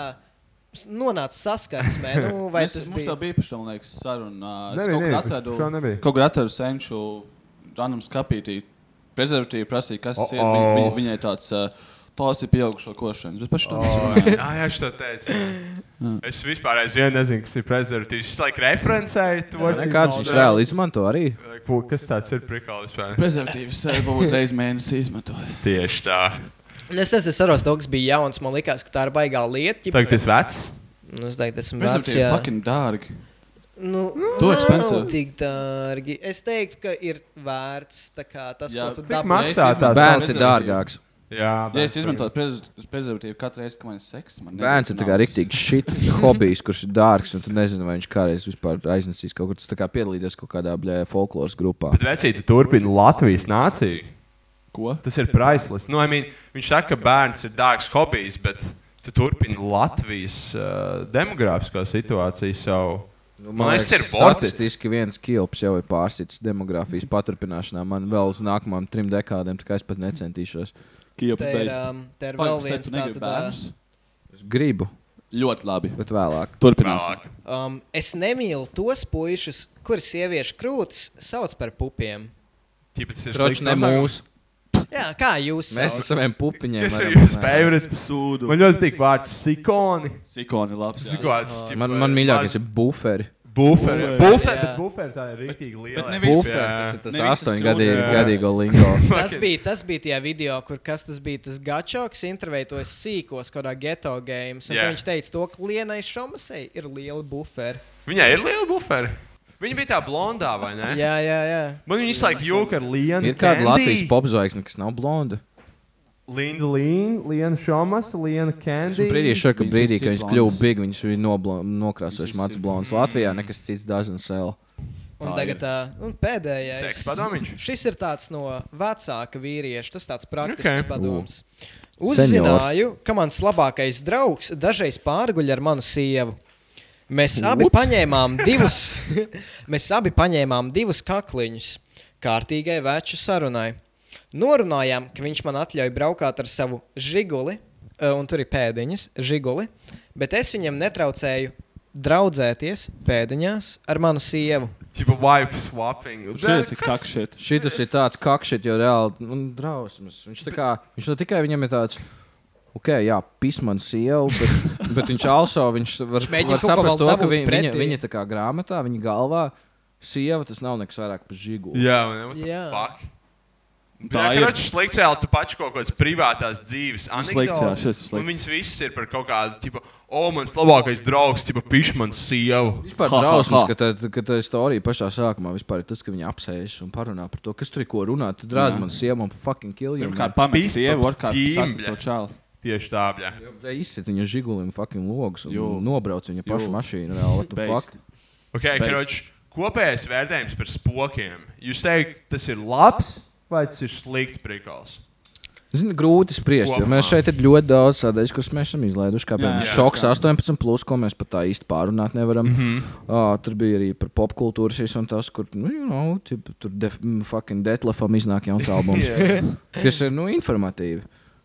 s- nonāca saskarsmē, nu, vai Mēs, tas mums bija? jau bija par šo, man liekas, saruna. Es Nebija, kaut kur nebija, atradu, šo nebija. kaut kur atradu senču random skapītī. Prezervatīvi prasīja, kas tas ir. Uh-oh. Viņ- viņ- Viņai tāds, ā, tās ir pieaugušo košanas. Bet par šo Oh, Jā, jā, es to teicu. Mm. Es vispār aizvien nezinu, kas ir prezervatīvs. Es laikam referencēju to. Kāds viņš reāli izmanto arī? Ko- Kas tāds ir prikālis? prezervatīvas varbūt reiz mēnesī izmantoja. Tieši tā. Un Nu, Es nezinu, es saprotu, ka tas bija jauns, man liekas, ka tā ir baigā lieta. ķip- Tagad tas vecs. Nu, es teiktu, esmu vecs. Prezervatīvi jā. fucking dārgi. Nu, Tu nav expensive. Tik dārgi. Es teiktu, ka ir vērts tā kā, tas, Jā, ko tu cik dabūji. maz? maksā tās Bērns ir dārgāks. Jā, Ja es izmantotu prez- prezervatīvu katru reizi, kad man ir seks, man Bērns ir tā kā rīktīgi šit hobijs, kurš ir dārgs, un tu nezini, vai viņš kādreiz vispār aiznesīs kaut kur. Tas tā kā piedalīties kaut kādā bļē, folkloras grupā. Bet vecīti turpina Latvijas nāciju. Ko? Tas ir priceless. Nu, I mean, viņš saka, ka bērns ir dārgs hobijs, bet tu turpini Latvijas uh, demogrāfisko situāciju savu. Nu, man liekas, tas ir botis. Statistiski viens kilps jau ir pārsits demogrāfijas paturpināšanā. Man vēl uz nākamajām trim dekādēm, tā kā es pat necentīšos. Kija Tā ir, um, tā ir vēl viens uh, tāds bērns. Es gribu, Ļoti labi. bet vēlāk. Turpināsim. Um, es nemīlu tos puišus, kurus sieviešu krūtis sauc par pupiem. Trots ne mūsu. Jā, kā jūs Mēs ar sauc? saviem pupiņiem. Tas ir varam jūsu mēģināt. favorīts. Sūdu. Man ļoti patīk vārds sikoni. Sikoni labs. jā. Man, man mīļākais ir buferi. eh, buferi. Buferi, Jā. bet buferi tā ir rīktīgi liela. bet ne visi- Buferi, tas ir tas Ne visas krūtis. astoņgadīgo lingo. Tas bija, tas bija tajā video, kur kas tas bija. Tas gačoks intervētojas sīkos kādā geto game. Jā. Yeah. Viņš teica, to, ka Lienai Šomasei ir liela buferi. Viņai ir liela buferi. Viņa bija tā blondā, vai ne? Jā, jā, jā. Man viņa izslēdz jūka ar Lienu. Ir kāda Latvijas popzvaigzne, kas nav blonda. Linda Līna, Liena Šomas, Liena Es Kendija. brīdī, šur, ka Viņas brīdī, visi kad ir viņš kļuva blondas. big, viņš bija noblo- nokrāsojuši Viņas visi mats ir blonds. Latvijā nekas cits dažs vēl. Un Tā tagad tā, un pēdējais. Seks padomiņš? Šis ir tāds no vecāka vīrieša, tas tāds praktisks Okay. okay. padoms. Uzzināju, ka mans labākais draugs dažreiz pārguļ ar manu sievu. Mēs abi paņēmām divus, mēs abi paņēmām divus kakliņus kārtīgai veču sarunai. Norunājām, ka viņš man atļauj braukāt ar savu žiguli, eh, un tur ir pēdiņas, žiguli, bet es viņam netraucēju draudzēties pēdiņās ar manu sievu. Tipa wipe swapping. Šis ir kakšķis. Šis ir tāds kakšķis, jau reāli un drausmas. Viņš, tā kā, viņš ne tikai viņam ir tāds. Ok, jā, pismans sieva, bet, bet viņš also viņš var, mēģina kaut var ko vēl saprast to, ka dabūt viņa, viņa, pretī. viņa tā kā grāmatā, viņa galvā, sieva tas nav nekas vairāk par žiguli. Jā, man Jā. liekas. Tā Tā ir ir. ļoti slikta. Jā, tu pašai kaut kādas privātās dzīves slikts, jā, anekdotes. šis ir slikts. Un viņas visas ir par kaut kādu, tipo, o, mans labākais draugs, tipo, pišmans sievu. Vispār Ha, ha, drausmas, ha. ka tā, ka tā storija pašā sākumā vispār ir tas, ka viņi apsēžas un parunā par to, kas tur ir ko runāt. Tu drāz man sievu un fucking kill you. Pirmkārt, pamanīju Pistols, sievu, otrkārt, ķīmble. sasniedzu to čālu. Tieši tā, jā. Ja izsit viņa žigulim fucking logus un Jū. nobrauc viņa pašu Jū. mašīnu. Reāli, what the Beist. fuck? Ok, karoči, kopējais vērtējums par spokiem. Jūs teikt, tas ir labs vai tas ir slikts prikals? Zini, grūti spriest, jo mēs šeit ir ļoti daudz sadaļas, kuras mēs esam izlaiduši. Kā piemēram, jā, Mhm. šoks 18, plus, ko mēs pat tā īsti pārunāt nevaram. Mm -hmm. uh, tur bija arī par popkultūru šīs un tas, kur, nu, you know, tip, tur de, mm, fucking detlefam iznāk jauns albums, kas ir, nu, informatīvi.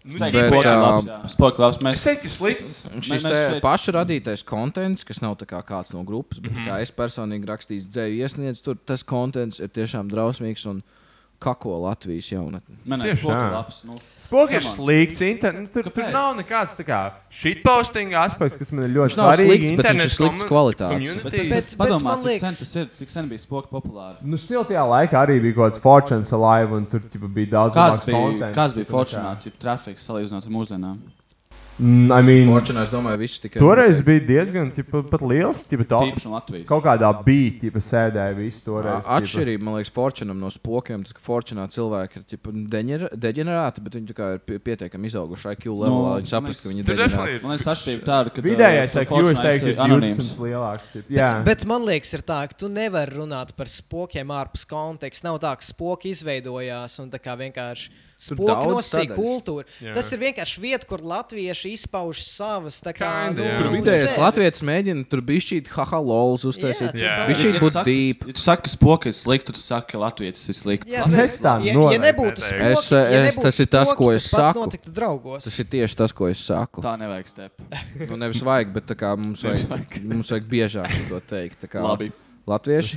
Bet, Bet, sporta ā, Nu, labs, jā. Sporta labs, mēs Seķis slikts. Un Šis Mēs- te mēs šeit- paša radītais konteksts, kas nav tā kā kāds no grupas, bet mm -hmm. kā es personīgi rakstīju, dzēju iesniedzu, tur tas konteksts ir tiešām drausmīgs un kako Latvijas jaunatni. Mēnesis Tieši sporta tā. labs. Nu, Spoks ir Come on. slikts. Inter... nu, Tur, tur Kāpēc? nav nekāds tā kā shitposting aspekts, kas man ir ļoti Viņš nav svarīgs. slikts, bet viņš ir Internets slikts komu- kvalitātes. bet community. tas- Bet- bet padomā, man cik sen liekas- tas ir, cik sen bija sporta populāri. Nu, stil tajā laikā arī bija kaut kāds Fortunes alive, un tur tipa, bija daudz Kāds labāks bija, contents, kāds bija tipa, nekā- fortunāts, ja trafiks salīdzinot ar mūsdienām? Mm, I mean, Forčinā, es domāju, viss tikai toreiz bija diezgan tipa, pat liels. Tipa, top, Tīpaši no Latvijas. kaut kādā bija tipa, sēdēja visu toreiz. tipa. Atšķirība, man liekas, Forčinam no spokiem, tas, ka Forčinā cilvēki ir tipa, deņer- deģenerāti, bet viņi tā kā ir pie- pietiekami izauguši IQ levelā, Nu, no, viņi saprast, ka man viņi ir Tur deģenerāti. definitely Man liekas, atšķirība tāda, ka Vidējais IQ, uh, es Fortunates teiktu, ir ir anonīms. 20 lielāks. tipa, Jā, Bet man liekas, ir tā, ka tu nevari runāt par spokiem ārpus konteksta. Nav tā, ka spoki izveidojās un tā kā vienkārši spoki daudz nosacīja sadaļas. kultūru. Jā. Tas ir vienkārši vieta, kur latvieši izpauž savas tā kā nu, Kinda, jā. Tur Uz vidējais sevi. Latvijas mēģina tur bija šī haha lols Jā, uztaisīt. Yeah, tur tā- Viņš šī Ja tu būtu saki- deep. Ja tu saki, ka spoka ir slikta, tad tu saki, ka latvijas ir slikta. Jā, Es tā ja, ja noteikti nebūtu teiktu. spoki, Es, ja es- nebūtu tas ir tas, spoki, ko es tas pats saku. Notiktu draugos. Tas ir tieši tas, ko es saku. Tā nevajag step. Nu, nevis vajag, bet tā kā mums vajag, mums vajag biežāk to teikt. tā kā Labi. Latvieši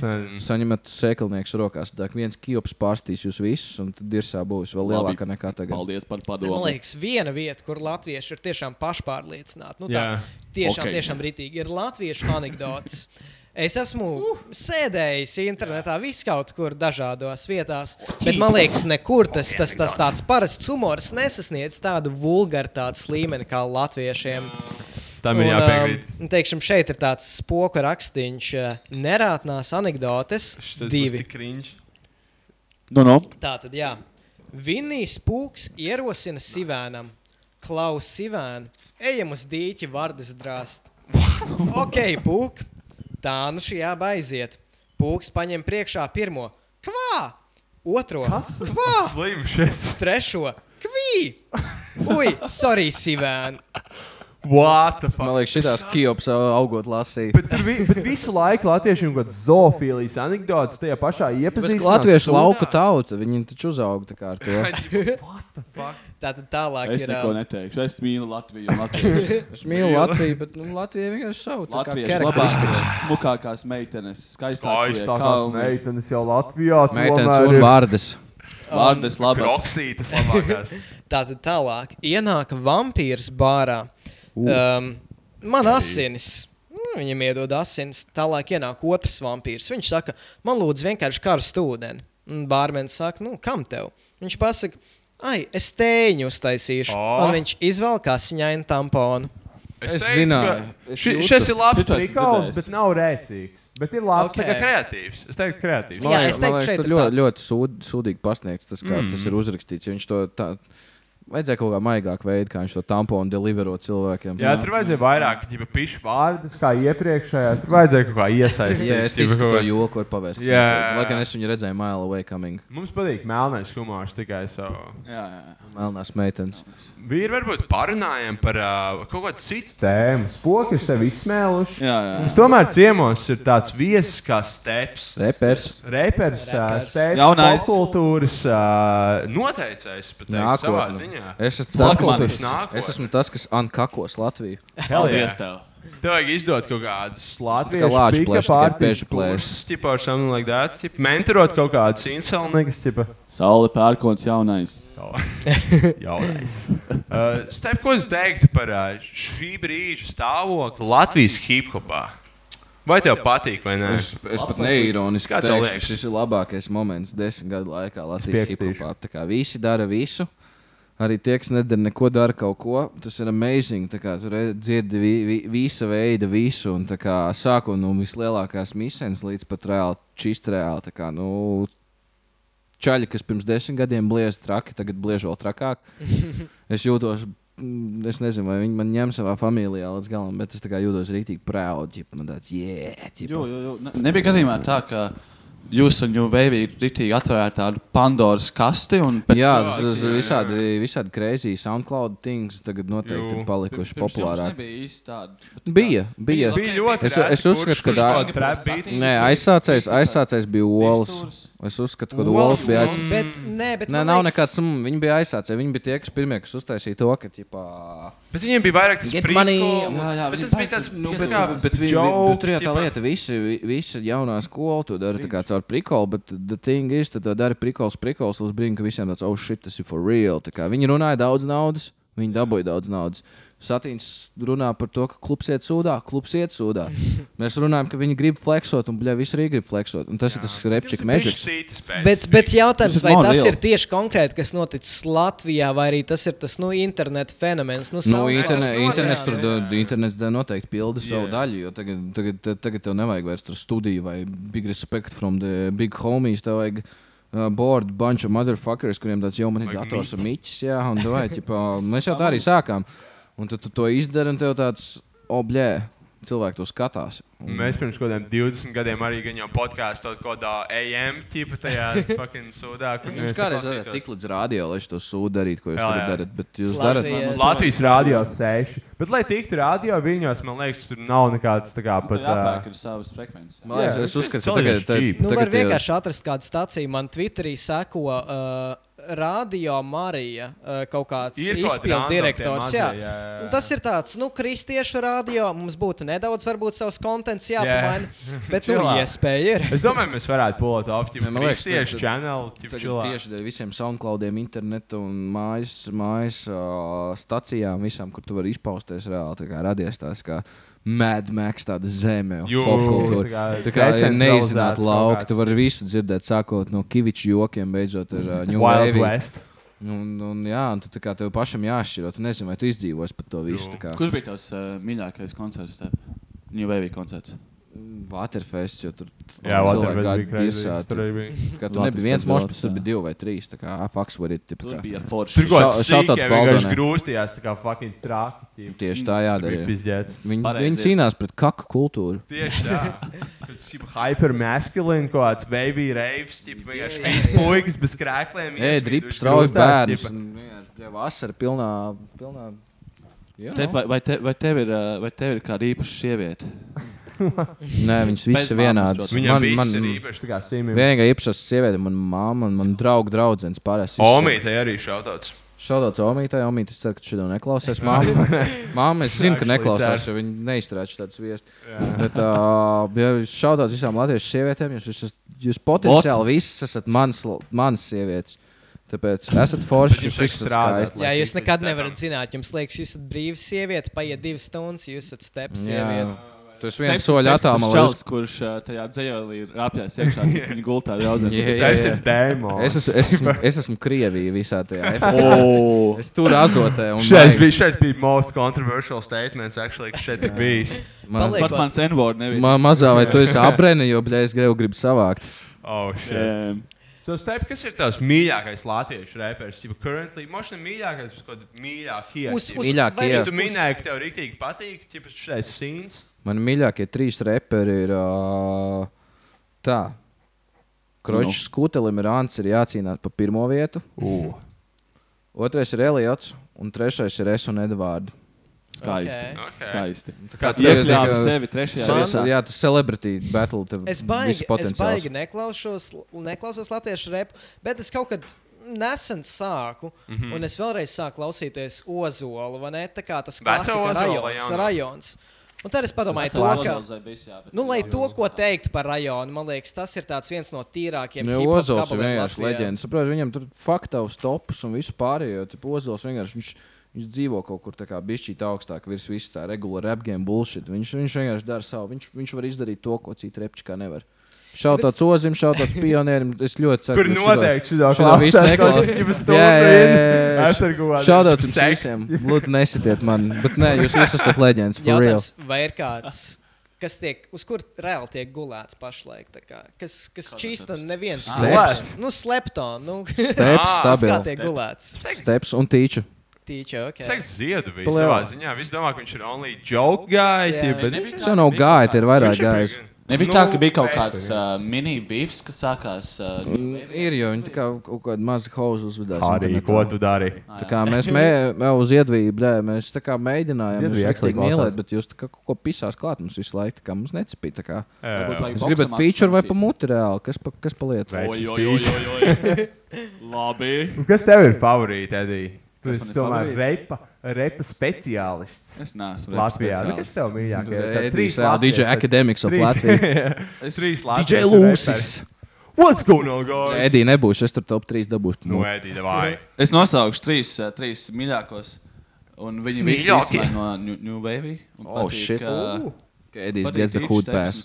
Tas, mm. saņemat sēklinieks rokās. Tā kā viens kiops pārstīs jūs visus, un tad dirsā būs vēl Labi. lielāka nekā tagad. Paldies par Man padomu. liekas, viena vieta, kur latvieši ir tiešām pašpārliecināti. Nu, Jā. tā, tiešām, Ok. okay. tiešām rītīgi ir latviešu anekdotes. Es esmu Uh. sēdējis internetā viskaut kur dažādās vietās, bet man liekas, nekur tas, tas, tas tāds parasts humors nesasniedz tādu vulgaritātes līmeni kā latviešiem. tam ir Un, jāpiekrīt. um, Teiksim, šeit ir tāds spoku rakstīns, nerātnās anekdotes, divi. Nu, nu. Tā tad, jā. Vinīs Pūks ierosina Sivēnam, Klaus Sivēn, ejam uz dīķi vardas drāst. ok, Pūk, tā nu šī jāba aiziet. Pūks paņem priekšā pirmo, kvā, otro, kvā, Slims šis. trešo, kvī. Ui, sorry, Sivēn. What the Man fuck? liekas, šīs kiops augot lasīja. Bet, tur vi, bet visu laiku latviešiem kaut kādas zoofīlijas anekdotas tajā pašā Bet iepazīstinās. Latviešu lauku tauta, viņi taču uzauga tā kā ar to. Tā tad tālāk Es ir. um, neko ā, neteikšu. Es mīlu Latviju. un Latvijas- Es mīlu Latviju, bet nu, Latvija vienkārši savu tā kā Latvijas labākās, karakteristikas. smukākās meitenes, skaistākās Aizstāvās meitenes jau Latvijā. Meitenes un vārdas. Vārdas labas. Kroksītas labākās. Tā tad tālāk ienāk vampīrs bārā. Um, man asinis. Mm, Viņam iedod asins. Tālāk ienāk otrs vampīrs. Viņš saka, man lūdzu, vienkārši karstu ūdeni. Un bārmenis saka, nu, kam tev? Viņš pasaka, ai, es tēņu uztaisīšu. Ā. Oh. Un viņš izvēl kasiņainu tamponu. Es zināju, es jūtu. Šis ir labs Šito esmu prikals, dzirdējis. bet nav rēcīgs. Bet ir labs, Ok. okay. kreatīvs. Es teiktu, kreatīvs. Jā, es liekas- man teiktu, liekas, šeit tur ir ļoti, tāds. ļoti sūd, sūdīgi pasniegts tas, kā mm. tas ir uzrakstīts. jo Viņš to tā, vajadzēja kaut kā maigāk veidā, kā viņš to tamponu delivero cilvēkiem. Jā, tur vajadzēja vairāk ģipa pišu vārdus, kā iepriekšējā. Tur vajadzēja kaut kā iesaistīt. Jā, es ģipa, ticu, ka kaut to kā- joku var pavērst. Jā. noteikti. Lai gan es viņu redzēju Mile Away Coming, Mums patīk melnais humors tikai savu. Jā, jā. Melnās meitenes. Vīri varbūt parunājam par uh, kaut kādu citu tēmu. Spoki ir sevi izsmēluši. jā, Mums jā. tomēr ciemos ir tāds viesis kā steps. Repers. Reipers, Repers. Jaunais. jaunais kultūras uh, noteicējs, bet tā ir savā Nākotnē. ziņā. Es esmu tas, kas, Nākotnes. Nākotne. es esmu tas, kas ankakos Latviju. Paldies tev. Tev vajag izdot kaut kādas Tā kā lāču plēš, tikai pēžu plēš. plēsas, tipā ar something like that, tip, mentorot kaut kādas inselnikas, tipā. Saule pērkons jaunais. Jaunais. Uh, Step, ko es teiktu par uh, šī brīža stāvokli Latvijas hip-hopā? Vai tev patīk, vai nē? Es, es pat neironiski Kā tev teikšu, ka liekas? šis ir labākais moments desmit gadu laikā Latvijas piekritīšu. hip-hopā. Tā kā Visi dara visu. Arī tie, kas nedara neko, dara kaut ko. Tas ir amazing. tā kā Tur re- dzirdi vi, vi, visu veidu, visu. Un, tā kā, sākot no vislielākās misijas līdz pat reāli, čist reāli. tā Kā, nu, čaļi, kas pirms desmit gadiem bliez traki, tagad bliez vēl trakāk. Es jūtos, mm, es nezinu, vai viņi man ņem savā familijā līdz galam, bet es tā kā jūtos rītīgi prātīgi. Man tāds, jē, yeah, Jo, jo, jo. Ne, nebija gadījumā tā, ka jūs un jūsu baby rītīgi atvērāt tādu Pandoras kasti. un pēc- Jā, tas ir jā, jā. visādi, visādi crazy SoundCloud things tagad noteikti Jū. ir palikuši Pirms jums populārāki. nebija īsti tāda- Bija, bija. Bija ļoti Es- es uzskatu, ka tā- Nē, aizsācējs, aizsācējs bija Walls. Es uzskatu, ka Walls bija aizsācējs. Mm. Bet, nē, bet Nē, man nav liekas- nekāds. Mm, viņi bija aizsācēji. Viņi bija tie, kas pirmie, kas uztaisīja to, ka, tipā, Bet viņiem bija vairāk tas Get prīko, money. Jā, jā, bet viņi tas bija baigi tāds, nu, nu, Bet, kā, bet, vi- vi- joke, bet tur jau tā tipā. lieta, visi, vi- visa jaunā skola to dara tā kā caur prikolu, bet the thing is, tad to dara prikols, prikols, līdz brīdim, ka visiem tāds, oh, shit, tas ir for real. Tā kā viņi runāja daudz naudas, viņi dabūja daudz naudas. Satīns runā par to, ka klubs iet sūdā, klubs iet sūdā. Mēs runājam, ka viņi grib flexot, un, bļā, visi arī grib flexot. Un tas ir tas repčik mežs. Bet, bet jautājums, Tas vai nav tas liela. ir tieši konkrēti, kas noticis Latvijā, vai arī tas ir tas nu, interneta fenomens? Nu, Nu, soundcloud- interne, Jā, internets jā. tur da- internets da noteikti pilda savu yeah. daļu, jo tagad, tagad, te- tagad tev nevajag vairs tur studiju vai big respect from the big homies. Tev vajag uh, board bunch of motherfuckers, kuriem tāds jau man ir dators un miķis. Jā, un davai, ķipa, mēs jau tā arī sākām. Un tad tu to izdari, un tev tāds oblē. Cilvēki to skatās. Un Mēs pirms kaut kādiem 20 gadiem arī gan jau podkāstu kaut kādā AM ķipa tajā fucking sūdā. kur Jūs neviens kādreiz uh, neklausītos. varat tikt līdz radio, lai šo sūdu darītu, ko jūs Jā, tagad jā. darat. Bet jūs Slāpsi, darat jā. Latvijas rādio 6. Bet, lai tiktu rādio viļņos, man liekas, tur nav nekāds tā kā pat. Jāpērk ā, ir savas frekvences. Man liekas, Jā, es uzskatu, ka salīdzinoši tagad, tā- cheap. tagad, Nu, var tie- vienkārši atrast kādu stāciju. Man Twitterī seko uh, Radio Marija, uh, kaut kāds Ir kaut kādi random izpildu tie direktors. mazie, Jā. jā, jā, jā. Un Tas ir tāds, nu, kristiešu radio. Mums būtu nedaudz, varbūt, savs kontents jāpamaina. Bet, nu, Čilā. iespēja ir. Es domāju, mēs varētu polot Nē, optimu. man Man liekas, liekas, tieši tad- channel. ķip, Tagad chillā. tieši dēļ visiem SoundCloudiem, internetu un mājas, mājas uh, stacijām, visām, kur tu vari izpausties reāli. tā kā Radies tāds kā Mad Max, tāda zeme, Jū, tā popkultūra. kā Tā kā ja decentralizēts neiznāt kaut lauku, kāds. tu vari visu dzirdēt, sākot no kiviču jokiem, beidzot ar uh, New Wild Wave. West. Un, un, jā, un tu, tā kā tev pašam jāšķiro, tu nezini, vai tu izdzīvosi par to visu. tā kā. Kurš bija tavs uh, mīļākais koncerts? Tev? New Wave koncerts. Waterfest, jo tur Jā, cilvēki Waterfest bija gāja crazy. Tur dirsāti. arī bija. Tā kā Tu nebija viens Waterfest mošs, daudz, tur jā. bija divi vai trīs. Tā kā ah, fuck, what it. Tur Tur bija forši. Tur kaut Šau- kāds šautāts sīkā vienkārši Baldonē. grūstījās, tā kā fucking traki. ķip. Tieši tā Tur bija jādara. Pizdzēts. Viņi, Pareizi. viņi cīnās pret kaku kultūru. Tieši tā. Tas ir hypermaskulīns, kaut kāds baby raves, tipā vienkārši viens puikas bez krēkliem. Nē, iespīduši drīz strauji krustās, bērns. tipa. Vasara pilnā. pilnā jā, Te, vai, vai, te, vai, tev ir, ā, vai tev ir kāda īpaša sieviete? Nē, viņas visas Bez ir vienādas. mammas, Viņam bija man, tas man, īpaši, tā kā simīgi. vienīgā īpašā sieviete, man mamma un man draugu draudzens pārējās. Omīte arī šautauts. Šādāds omītai, omītis cer, ka šī to neklausās. Māma, māma es zinu, ka Actually neklausās, cer. jo viņa neizturēs tādu sviestu. Bet uh, ja jūs šādāds visām latviešu sievietēm, jūs, visas, jūs potenciāli visas esat mans, l- manas sievietes. Tāpēc esat forši, jums jūs vajag visas esat strādāt, skaistas. Jā, Lai jūs tik nekad līdz nevarat zināt. Jums liekas, jūs esat brīvs sieviete, paiet divas stundas, jūs esat steps Jā. sieviete. Tu esi viens soļš attālumā. lai Čels, uz- kurš ā, tajā dzējolī ir rāpjās iekšā, cik viņa gultā Jā, raudzē. jā, Tas ir jā. Es dēmons. esmu, es, esmu, es esmu Krievija visā tajā. O, Es tur azotē. un Šais baigi. bija, šais bija most controversial statements, actually, kas šeit ir bijis. Man- Paliek Pat mans envārds nebija. Ma mazā vai tu esi apreni, jo, bļa, es gribu, gribu savākt. Oh, shit. Ehm, so, Step, kas ir tavs mīļākais latviešu reperis? Jau currently, možda mīļākais, bet kaut kāds mīļākie. Uz, tipa? uz, Mīļākie. vai arī Tu uz- minēji, ka tev rīktīgi patīk, tipa šais scenes. Mani mīļākie trīs reperi ir. ā, Tā. Nu. Kroķis no. Skutelim ir Ants, ir jācīnās par pirmo vietu. Uh. Otrais ir Eliots, un trešais ir es un Edvards. Skaisti. Ok. Skaisti. Kāds Jā, tev jā. Iekšām sevi trešajā vietā. Jā, tas celebrity battle. tev Es viss baigi, es potenciāls. baigi neklausos, neklausos latviešu repu, bet es kaut kad nesen sāku, mm -hmm. un es vēlreiz sāku klausīties Ozolu. vai ne? Tā kā tas Veco klasika Ozolu vai rajons, jauno? rajons. Un tad es padomāju, to, ka, nu, lai to, ko teikt par rajonu, man liekas, tas ir tāds viens no tīrākajiem. Jā, hip-hop Ozols ir gabaliem Nu, vienkārši Latvijā. leģenda. Saprot, viņam tur faktaus, topus un visu pārējo. Tad Ozols vienkārši viņš, viņš dzīvo kaut kur tā kā bišķīt augstāk virs visu tā regulāra apgēma bullshit. Viņš, viņš vienkārši dara savu. Viņš, viņš var izdarīt to, ko citi repčikā nevar. Šautāts Ozim, šautāts pionierim. Es ļoti ceru, Kur ka noteikti šitā šādā klausās, visā kaut neklausās. kāds ģimenes Jā, jā, jā, stūra vien. jā. Atarguvā. Šaudot jums Seks. visiem. Lūdzu, nesitiet man. Bet nē, jūs visi esat leģends. for real. Jautājums, vai ir kāds, kas tiek, uz kur reāli tiek gulēts pašlaik? tā kā? Kas, kas čīsta neviens? Steps. Nu, slepto. Nu, Ah. Steps, Ah, kas kā stabil. tiek gulēts? Steps un tīču. Tīča, ok. Seks ziedu bija Palielā. savā ziņā. Visi domā, ka viņš ir only joke guy. Jā, tie, bet- Tas jau nav gājis, ir vairāk Viņš ir gājis. pretī. Nebija Nu, nu, tā, ka bija kaut kāds mēs to, uh, mini-beefs, kas sākās. Uh, Mm. Nu, Ir jau viņi tā kā kaut kāda maza hausa uzvedās. Arī, internetā. ko tu dari? Tā kā mēs mē, mē uz iedvību, dē, mēs tā kā mēģinājām Ziedvība jūs actually rīktīgi mīlēt, klausās. bet jūs tā kā kaut ko pisās klāt mums visu laiku, tā kā mums necipīja. tā kā. varbūt vajag Jūs boksam gribat feature vai atšķirtīt. pa muti reāli? Kas pa, kas pa lietu? Vai- Oj, oj, oj, oj, oj. Labi. Un Kas tev ir favorīts, Edija? Tu Kas esi man ir tomēr favorīts? repa, repa speciālists. Es neesmu Latvijā. Nu, Kas tev mīļākais? Trīs DJ Academics of Latvijas. Es Trīs DJ latviešu reperi. Lūsis. What's going on, guys? Edī nebūs, es tur top 3 dabūšu. Nu, Edija, davai. Es nosaukšu trīs, ā, trīs mīļākos. Un viņi visi ir Mīļākie. no New, New Wave. uh, Oh, shit. Edijs gets the hood pass.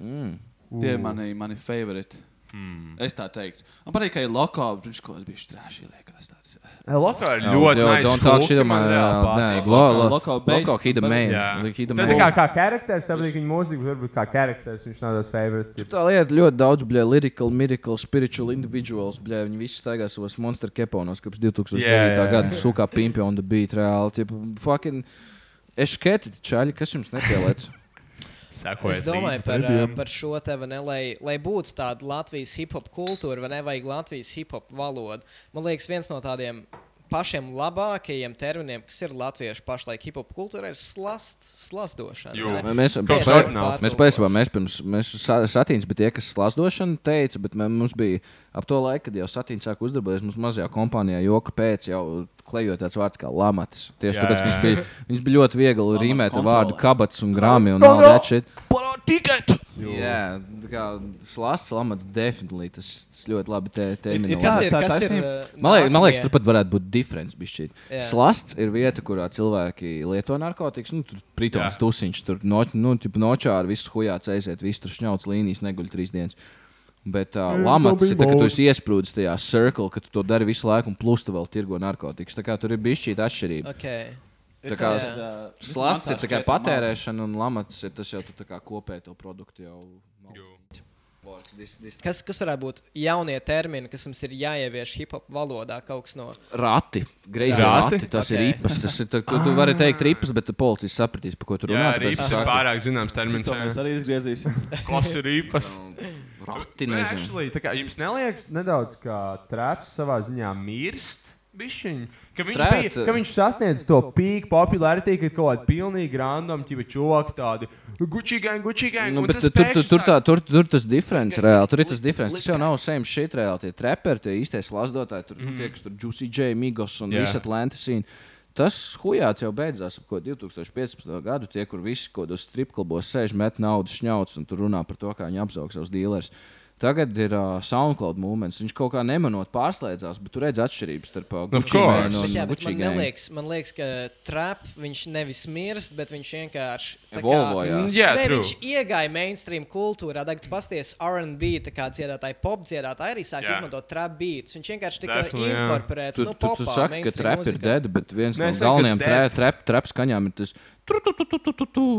Mm. Tie ir mani, mani favorīti. Mm. Es tā teiktu. Man patīk, ka ir lokāli, viņš kaut kāds bija strāšs, liekas. Tāds. Uh, Lokā ir No, ļoti yo, nice Don't talk hooki, shit on my. man reāli uh, patīk. Nē, glo- Local lo- bass, Local hit the but- man. Jā. Like, hit the Tā ir tā kā, man. kā charakteris, tā patīk viņa mūzika, varbūt kā charakteris viņš nav tas favorīts. Tā lieta ļoti daudz, bļa, lyrical, miracle, spiritual individuals, bļa, viņi visi staigā savos monster keponos kopš 2009. Jā, jā, jā. gada, sūkā pimpi on the beat, reāli, tie fucking, es šķieti, čaļi, kas jums nepielēc? Sekojiet. Es domāju par, ā, par šo te, vai ne, lai, lai būtu tāda Latvijas hip hop kultūra, vai ne, vajag Latvijas hip hop valodu. Man liekas, viens no tādiem pašiem labākajiem terminiem, kas ir latviešu pašlaik hip hop kultūrā, ir slasts, slazdošana. Jū. vai ne? Mēs Tieši mēs- tāpat mēs pārtulkots. patiesībā mēs pirms mēs sa- satīns, bet tie, kas slazdošanu teica, bet mē- mums bija ap to laiku, kad jau satīns sāka uzdarboties mums mazajā kompānijā, joka pēc jau klejot tāds vārds kā lamatis. Tieši Jā, tāpēc, ka jā, viņš bija, viņš bija ļoti viegli rīmēt ar vārdu kabats un grāmi un all Kontrole. that shit. Tikai! Jā, tā kā slānis lamats definitely tas, tas ļoti labi te, te Ir- ir Kas tā- ir? tā Kas ir taisnība. ā, Man liekas, man liekas, nākamie? tur pat varētu būt diferents. bišķīt. Jā. Slasts ir vieta, kurā cilvēki lieto narkotikas. Nu, tur pritons, Jā. tusiņš, tur no, nu, tipu nočā ar visu hujāts aiziet, visu tur šņauts līnijas, neguļ trīs dienas. Bet uh, Mm, lamats ir tas, ka tu esi iesprūdis tajā cirklī, ka tu to dari visu laiku, un plus tu vēl tirgo narkotikas. Tā kā tur ir bijusi šī atšķirība. Okay. Tā kā jā. slasts ir tikai patērēšana, un lamats ir tas jau tu tā kā kopē to produktu jau. Vārds, dis- dis- Kas, kas varētu būt jaunie termini, kas mums ir jāievieš hip hop valodā? Kaut kas no Rati, greizi Rati? rati, tas okay. Ok. ir ripas. Tas ir, tā- tu, tu vari teikt ripas, bet policija sapratīs, par ko tu Jā, runā. tāpēc rīps es ir saku, pārāk zināms termins. To mēs jā. arī izgriezīsim. Kas ir rīpas? Rati, Bet Nu, nezinu. Nu, actually, tā kā Jums neliekas, nedaudz, ka traps savā ziņā mirst. Bišķiņ, ka, viņš Trap? bija, ka viņš sasniedz to pīku popularitāti, kad kaut kāda pilnīgi random ķipa čūvaka tādi gucci gang, gucci gang. Nu, un bet tas tur, tur, pēkšņi tur, tā, sāk- tur, tur tas diferences reāli. Tur ir tas diferences. Tas jau nav same shit reāli. Tie treperi, tie īstais lazdotāji, tur mm. tie, kas tur Juicy J, Migos un Mhm. Jā. visi Atlantis. Tas hujāts jau beidzās ap ko 2015. gadu. Tie, kur visi kaut kādos stripklubos sēž, met naudu, šņauts un tur runā par to, kā viņi apzaug savus dealerus. Tagad ir uh, SoundCloud mūmens. Viņš kaut kā nemanot pārslēdzās, bet tur redz atšķirības starp uh, Gucci Nu, course. Mane Bet, jā, un bet Gucci man, Gang. liekas, man liekas, ka trap viņš nevis mirst, bet viņš vienkārši tā kā- Evolvojās. Mm, Jā, Nē, true. viņš iegāja mainstream kultūrā, tagad pasties RB, tā kā dziedātāji, pop dziedātāji arī sāk Jā. izmantot trap beats. Viņš vienkārši tika Definitely, jā. inkorporēts, Tu, nu, tu, tu popā, saki, ka mainstream trap ir mūzikā. dead, bet viens Nē, no es saku, galvenajiem dead. tra- trap, trap skaņām ir tas, ka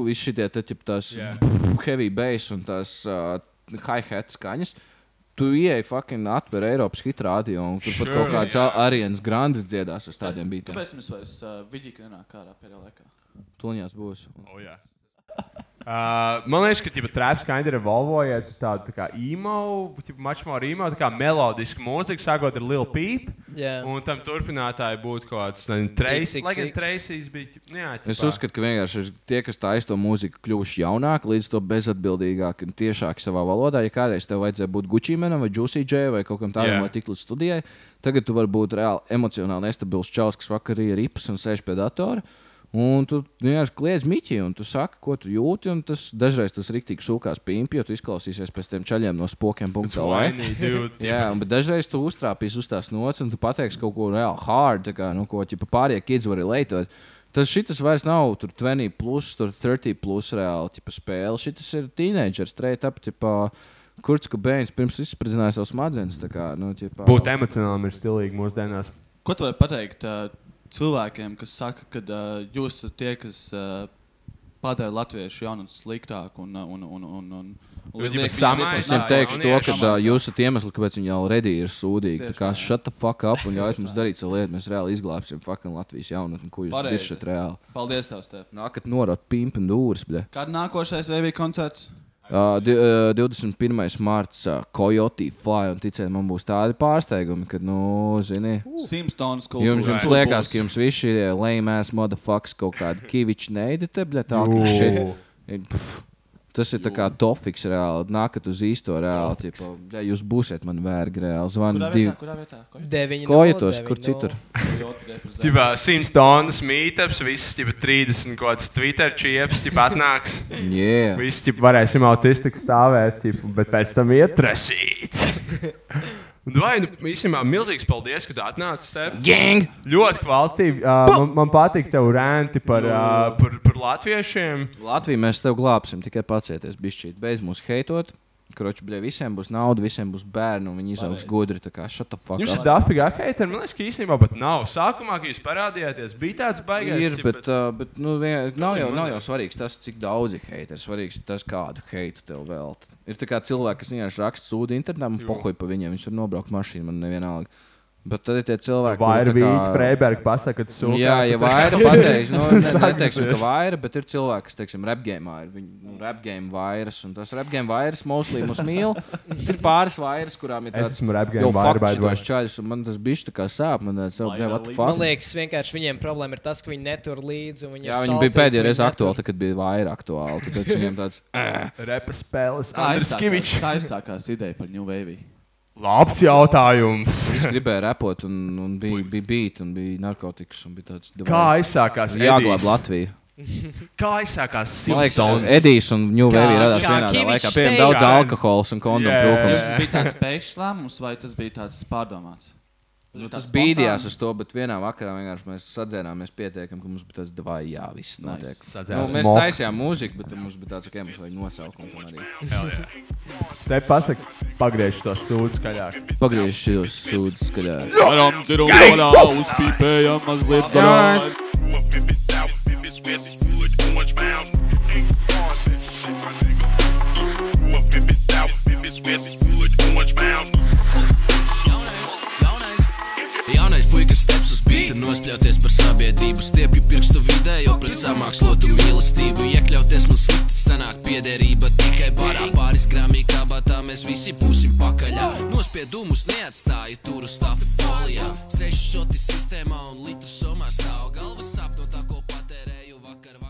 visi šie tādas Jā. heavy bass un tās uh, hi-hat skaņas. Tu ieej, fucking atver Eiropas hitrādi, un tur pat Sure, kaut kāds jā. Arijas grandis dziedās uz tādiem beigām. Tāpēc mums vairs uh, viģika nenāk ārā pēdējā laikā. Tuņās būs. Oh, jā. Uh, man liekas, ka tipa, traps kind of evolvojies uz tādu tā kā emo, tipa, much more emo, tā kā melodisku mūziku, sākot ar Lil Peep. Jā. Un tam turpinātāji būtu kaut kāds Tracy. Lai gan XXX. Tracy's bija. ķip, nu Jā, Es ķipā. uzskatu, ka vienkārši ir tie, kas taisa to mūziku, kļuvuši jaunāki, līdz to bezatbildīgāki un tiešāki savā valodā. Ja kādreiz tev vajadzēja būt Gucci-menam vai Juicy-džai vai kaut kam tādam, Jā. yeah. lai tiktu līdz studijai, tagad tu vari būt reāli emocionāli nestabils čels, kas vakarā ir rips un sēž pie datora. Un tu vienkārši kliedz miķi, un tu saki, ko tu jūti. un Tas, dažreiz tas rīktīgi sūkās pīņķi, jo tu izklausīsies pēc tiem čaļiem no spokiem. It's punktā LV. whiny, dude. Jā, un, bet dažreiz tu uztrāpīsi uz tās nots, un tu pateiksi kaut ko reāli hard, tā kā, nu, ko ķipa, pārējie kids var leitot. Tas šis vairs nav tur 20, plus, tur 30 plus reāli tipa, spēle. Šis ir teenager, straight up. Tipa, Kurts Kubēns pirms izspridzināja savus smadzenes. tā kā, Nu, ķipa, Būt emocionālam ir stilīgi mūsdienās. Ko tu vari pateikt uh, cilvēkiem, kas saka, ka uh, jūs esat tie, kas uh, padara latviešu jaunu sliktāku un, uh, un, un, un, un, un Bet, ja liek- mēs samainām- Es liek- viņam Nā, teikšu to, jaunieši. ka uh, jūs esat iemesli, kāpēc viņi jau redī ir sūdīgi. Tā kā Tieši tā, jā. šāda fuck up un ļaujiet mums darīt savu lietu. Mēs reāli izglābsim fucking Latvijas jaunatni, ko jūs Pareizi. diršat reāli. Paldies, tev, Stef. Nākat norot pimpa dūris, bļa. Kad nākošais VV koncerts? Uh, di- uh, 21. mārciņā Coyote Fly, un ticiet, man būs tādi pārsteigumi, ka, nu, zini, Simpsons kaut jums, jums liekas, ka jums visi šie lēmēs, motherfuckers, kaut kādi kiviči neidete, bļa, tā kā šī. Pff, Tas ir tā kā tofiks reāli. Nākat uz īsto reāli. Tipa, ja jūs būsiet man vērgi reāli, Kurā zvaniet divi. vietā? Kurā vietā? Ko- Deviņi Kojotos, kur citur. Coyote reprezentē. Tipā 100 tonnas mītāps, visas tipā 30 kaut kāds Twitter čieps, tipā atnāks. Yeah. Visi tipā varēsim autistiski stāvēt, tipā, bet pēc tam iet trasīt. Vai nu īstenībā milzīgs paldies, ka tu atnāci šeit? Gang! Ļoti kvalitīvi. Uh, man, man patīk tev rēnti par, uh, par, par latviešiem. Latviju mēs tev glābsim, tikai pacieties, bišķīt. Beidz mūs heitot. Kroči, bļa, visiem būs nauda, visiem būs bērni, un viņi izaugs gudri. Tā kā šāda Jums ir fakta. dafīga haitēra. Man liekas, ka īstenībā pat nav. Sākumā, kad jūs parādījāties, bija tāds baigais. Ir, ķip, bet, uh, bet nu, vien, nav, jau, nav jau svarīgs tas, cik daudz ir heita. Svarīgs ir tas, kādu heitu tev veltīt. Ir tā kā cilvēki, kas vienkārši raksta sūdu internetā, un pohoja pa viņiem. Viņš var nobraukt mašīnu, man nevienalga. Bet tad ir tie cilvēki, Vai ir kuri tā Vīķis Freiberga pasaka, ka sūta? Jā, ja vaira pateiks, nu, ne, neteiksim, ka vaira, bet ir cilvēki, kas, teiksim, repgēmā ir viņa, nu, repgēma vairas, un tas repgēma vairas mostly mūs mīl. Bet Ir pāris vairas, kurām ir Es tāds, esmu rap game "Jo, vaira, fuck by the way." šitos čaļus, un man tas bišķi tā kā sāp, man tāds, jau, yeah, what the Man fuck. liekas, vienkārši viņiem problēma ir tas, ka viņi netur līdzi. un Viņi Jā, viņi bija pēdējā reize aktuāli, tad, kad bija vaira aktuāli, tad viņiem tāds, Repa spēles. Kā Andris aizsākās- Kavičs. kā aizsākās ideja par New Wave? Labs jautājums. viņš gribēja repot, un, un bija, bija beat, un bija narkotikas, un bija tāds, Kā aizsākās? jāglāb Edijs? Latviju. Kā aizsākās Man liekas, Simpsons? Edijs un New Wave Kā- radās kā vienādā Kivičs laikā, piemēram, teica. daudz alkohols un kondomu Jā. trūkums. Tas bija tāds pēkšņs lēmums, vai tas bija tāds pārdomāts? Nu, Tas bīdījās uz to, bet vienā vakarā vienkārši mēs sadzērāmies pietiekami, ka mums bija tas divai jā, viss notiek. Nu, Sadzērās mēs moku. taisījām mūziku, bet mums bija tāds, ka mums vajag nosaukumu tam arī. Te pasaka, pagriež to sūdu skaļāk. Pagriež šos sūdzes, ka Varam dzirdēt, kā uzpīpējām mazliet zaļā. If it's sour, if it's west, it's wood, orange bound. If it's sour, if it's west, it's wood, orange bound. Jaunais puikas steps uz bīta, nospļauties par sabiedrību, stiepju pirkstu vidē, jo pret samākslotu mīlestību iekļauties mums slikti sanāk piederība tikai barā. Pāris grāmī kabatā mēs visi būsim pakaļā. Nospiedumus neatstāju tur uz stāfi polijā. Seši soti sistēmā un litu somā stāv galvas sāp no tā, ko patērēju vakar. vakar.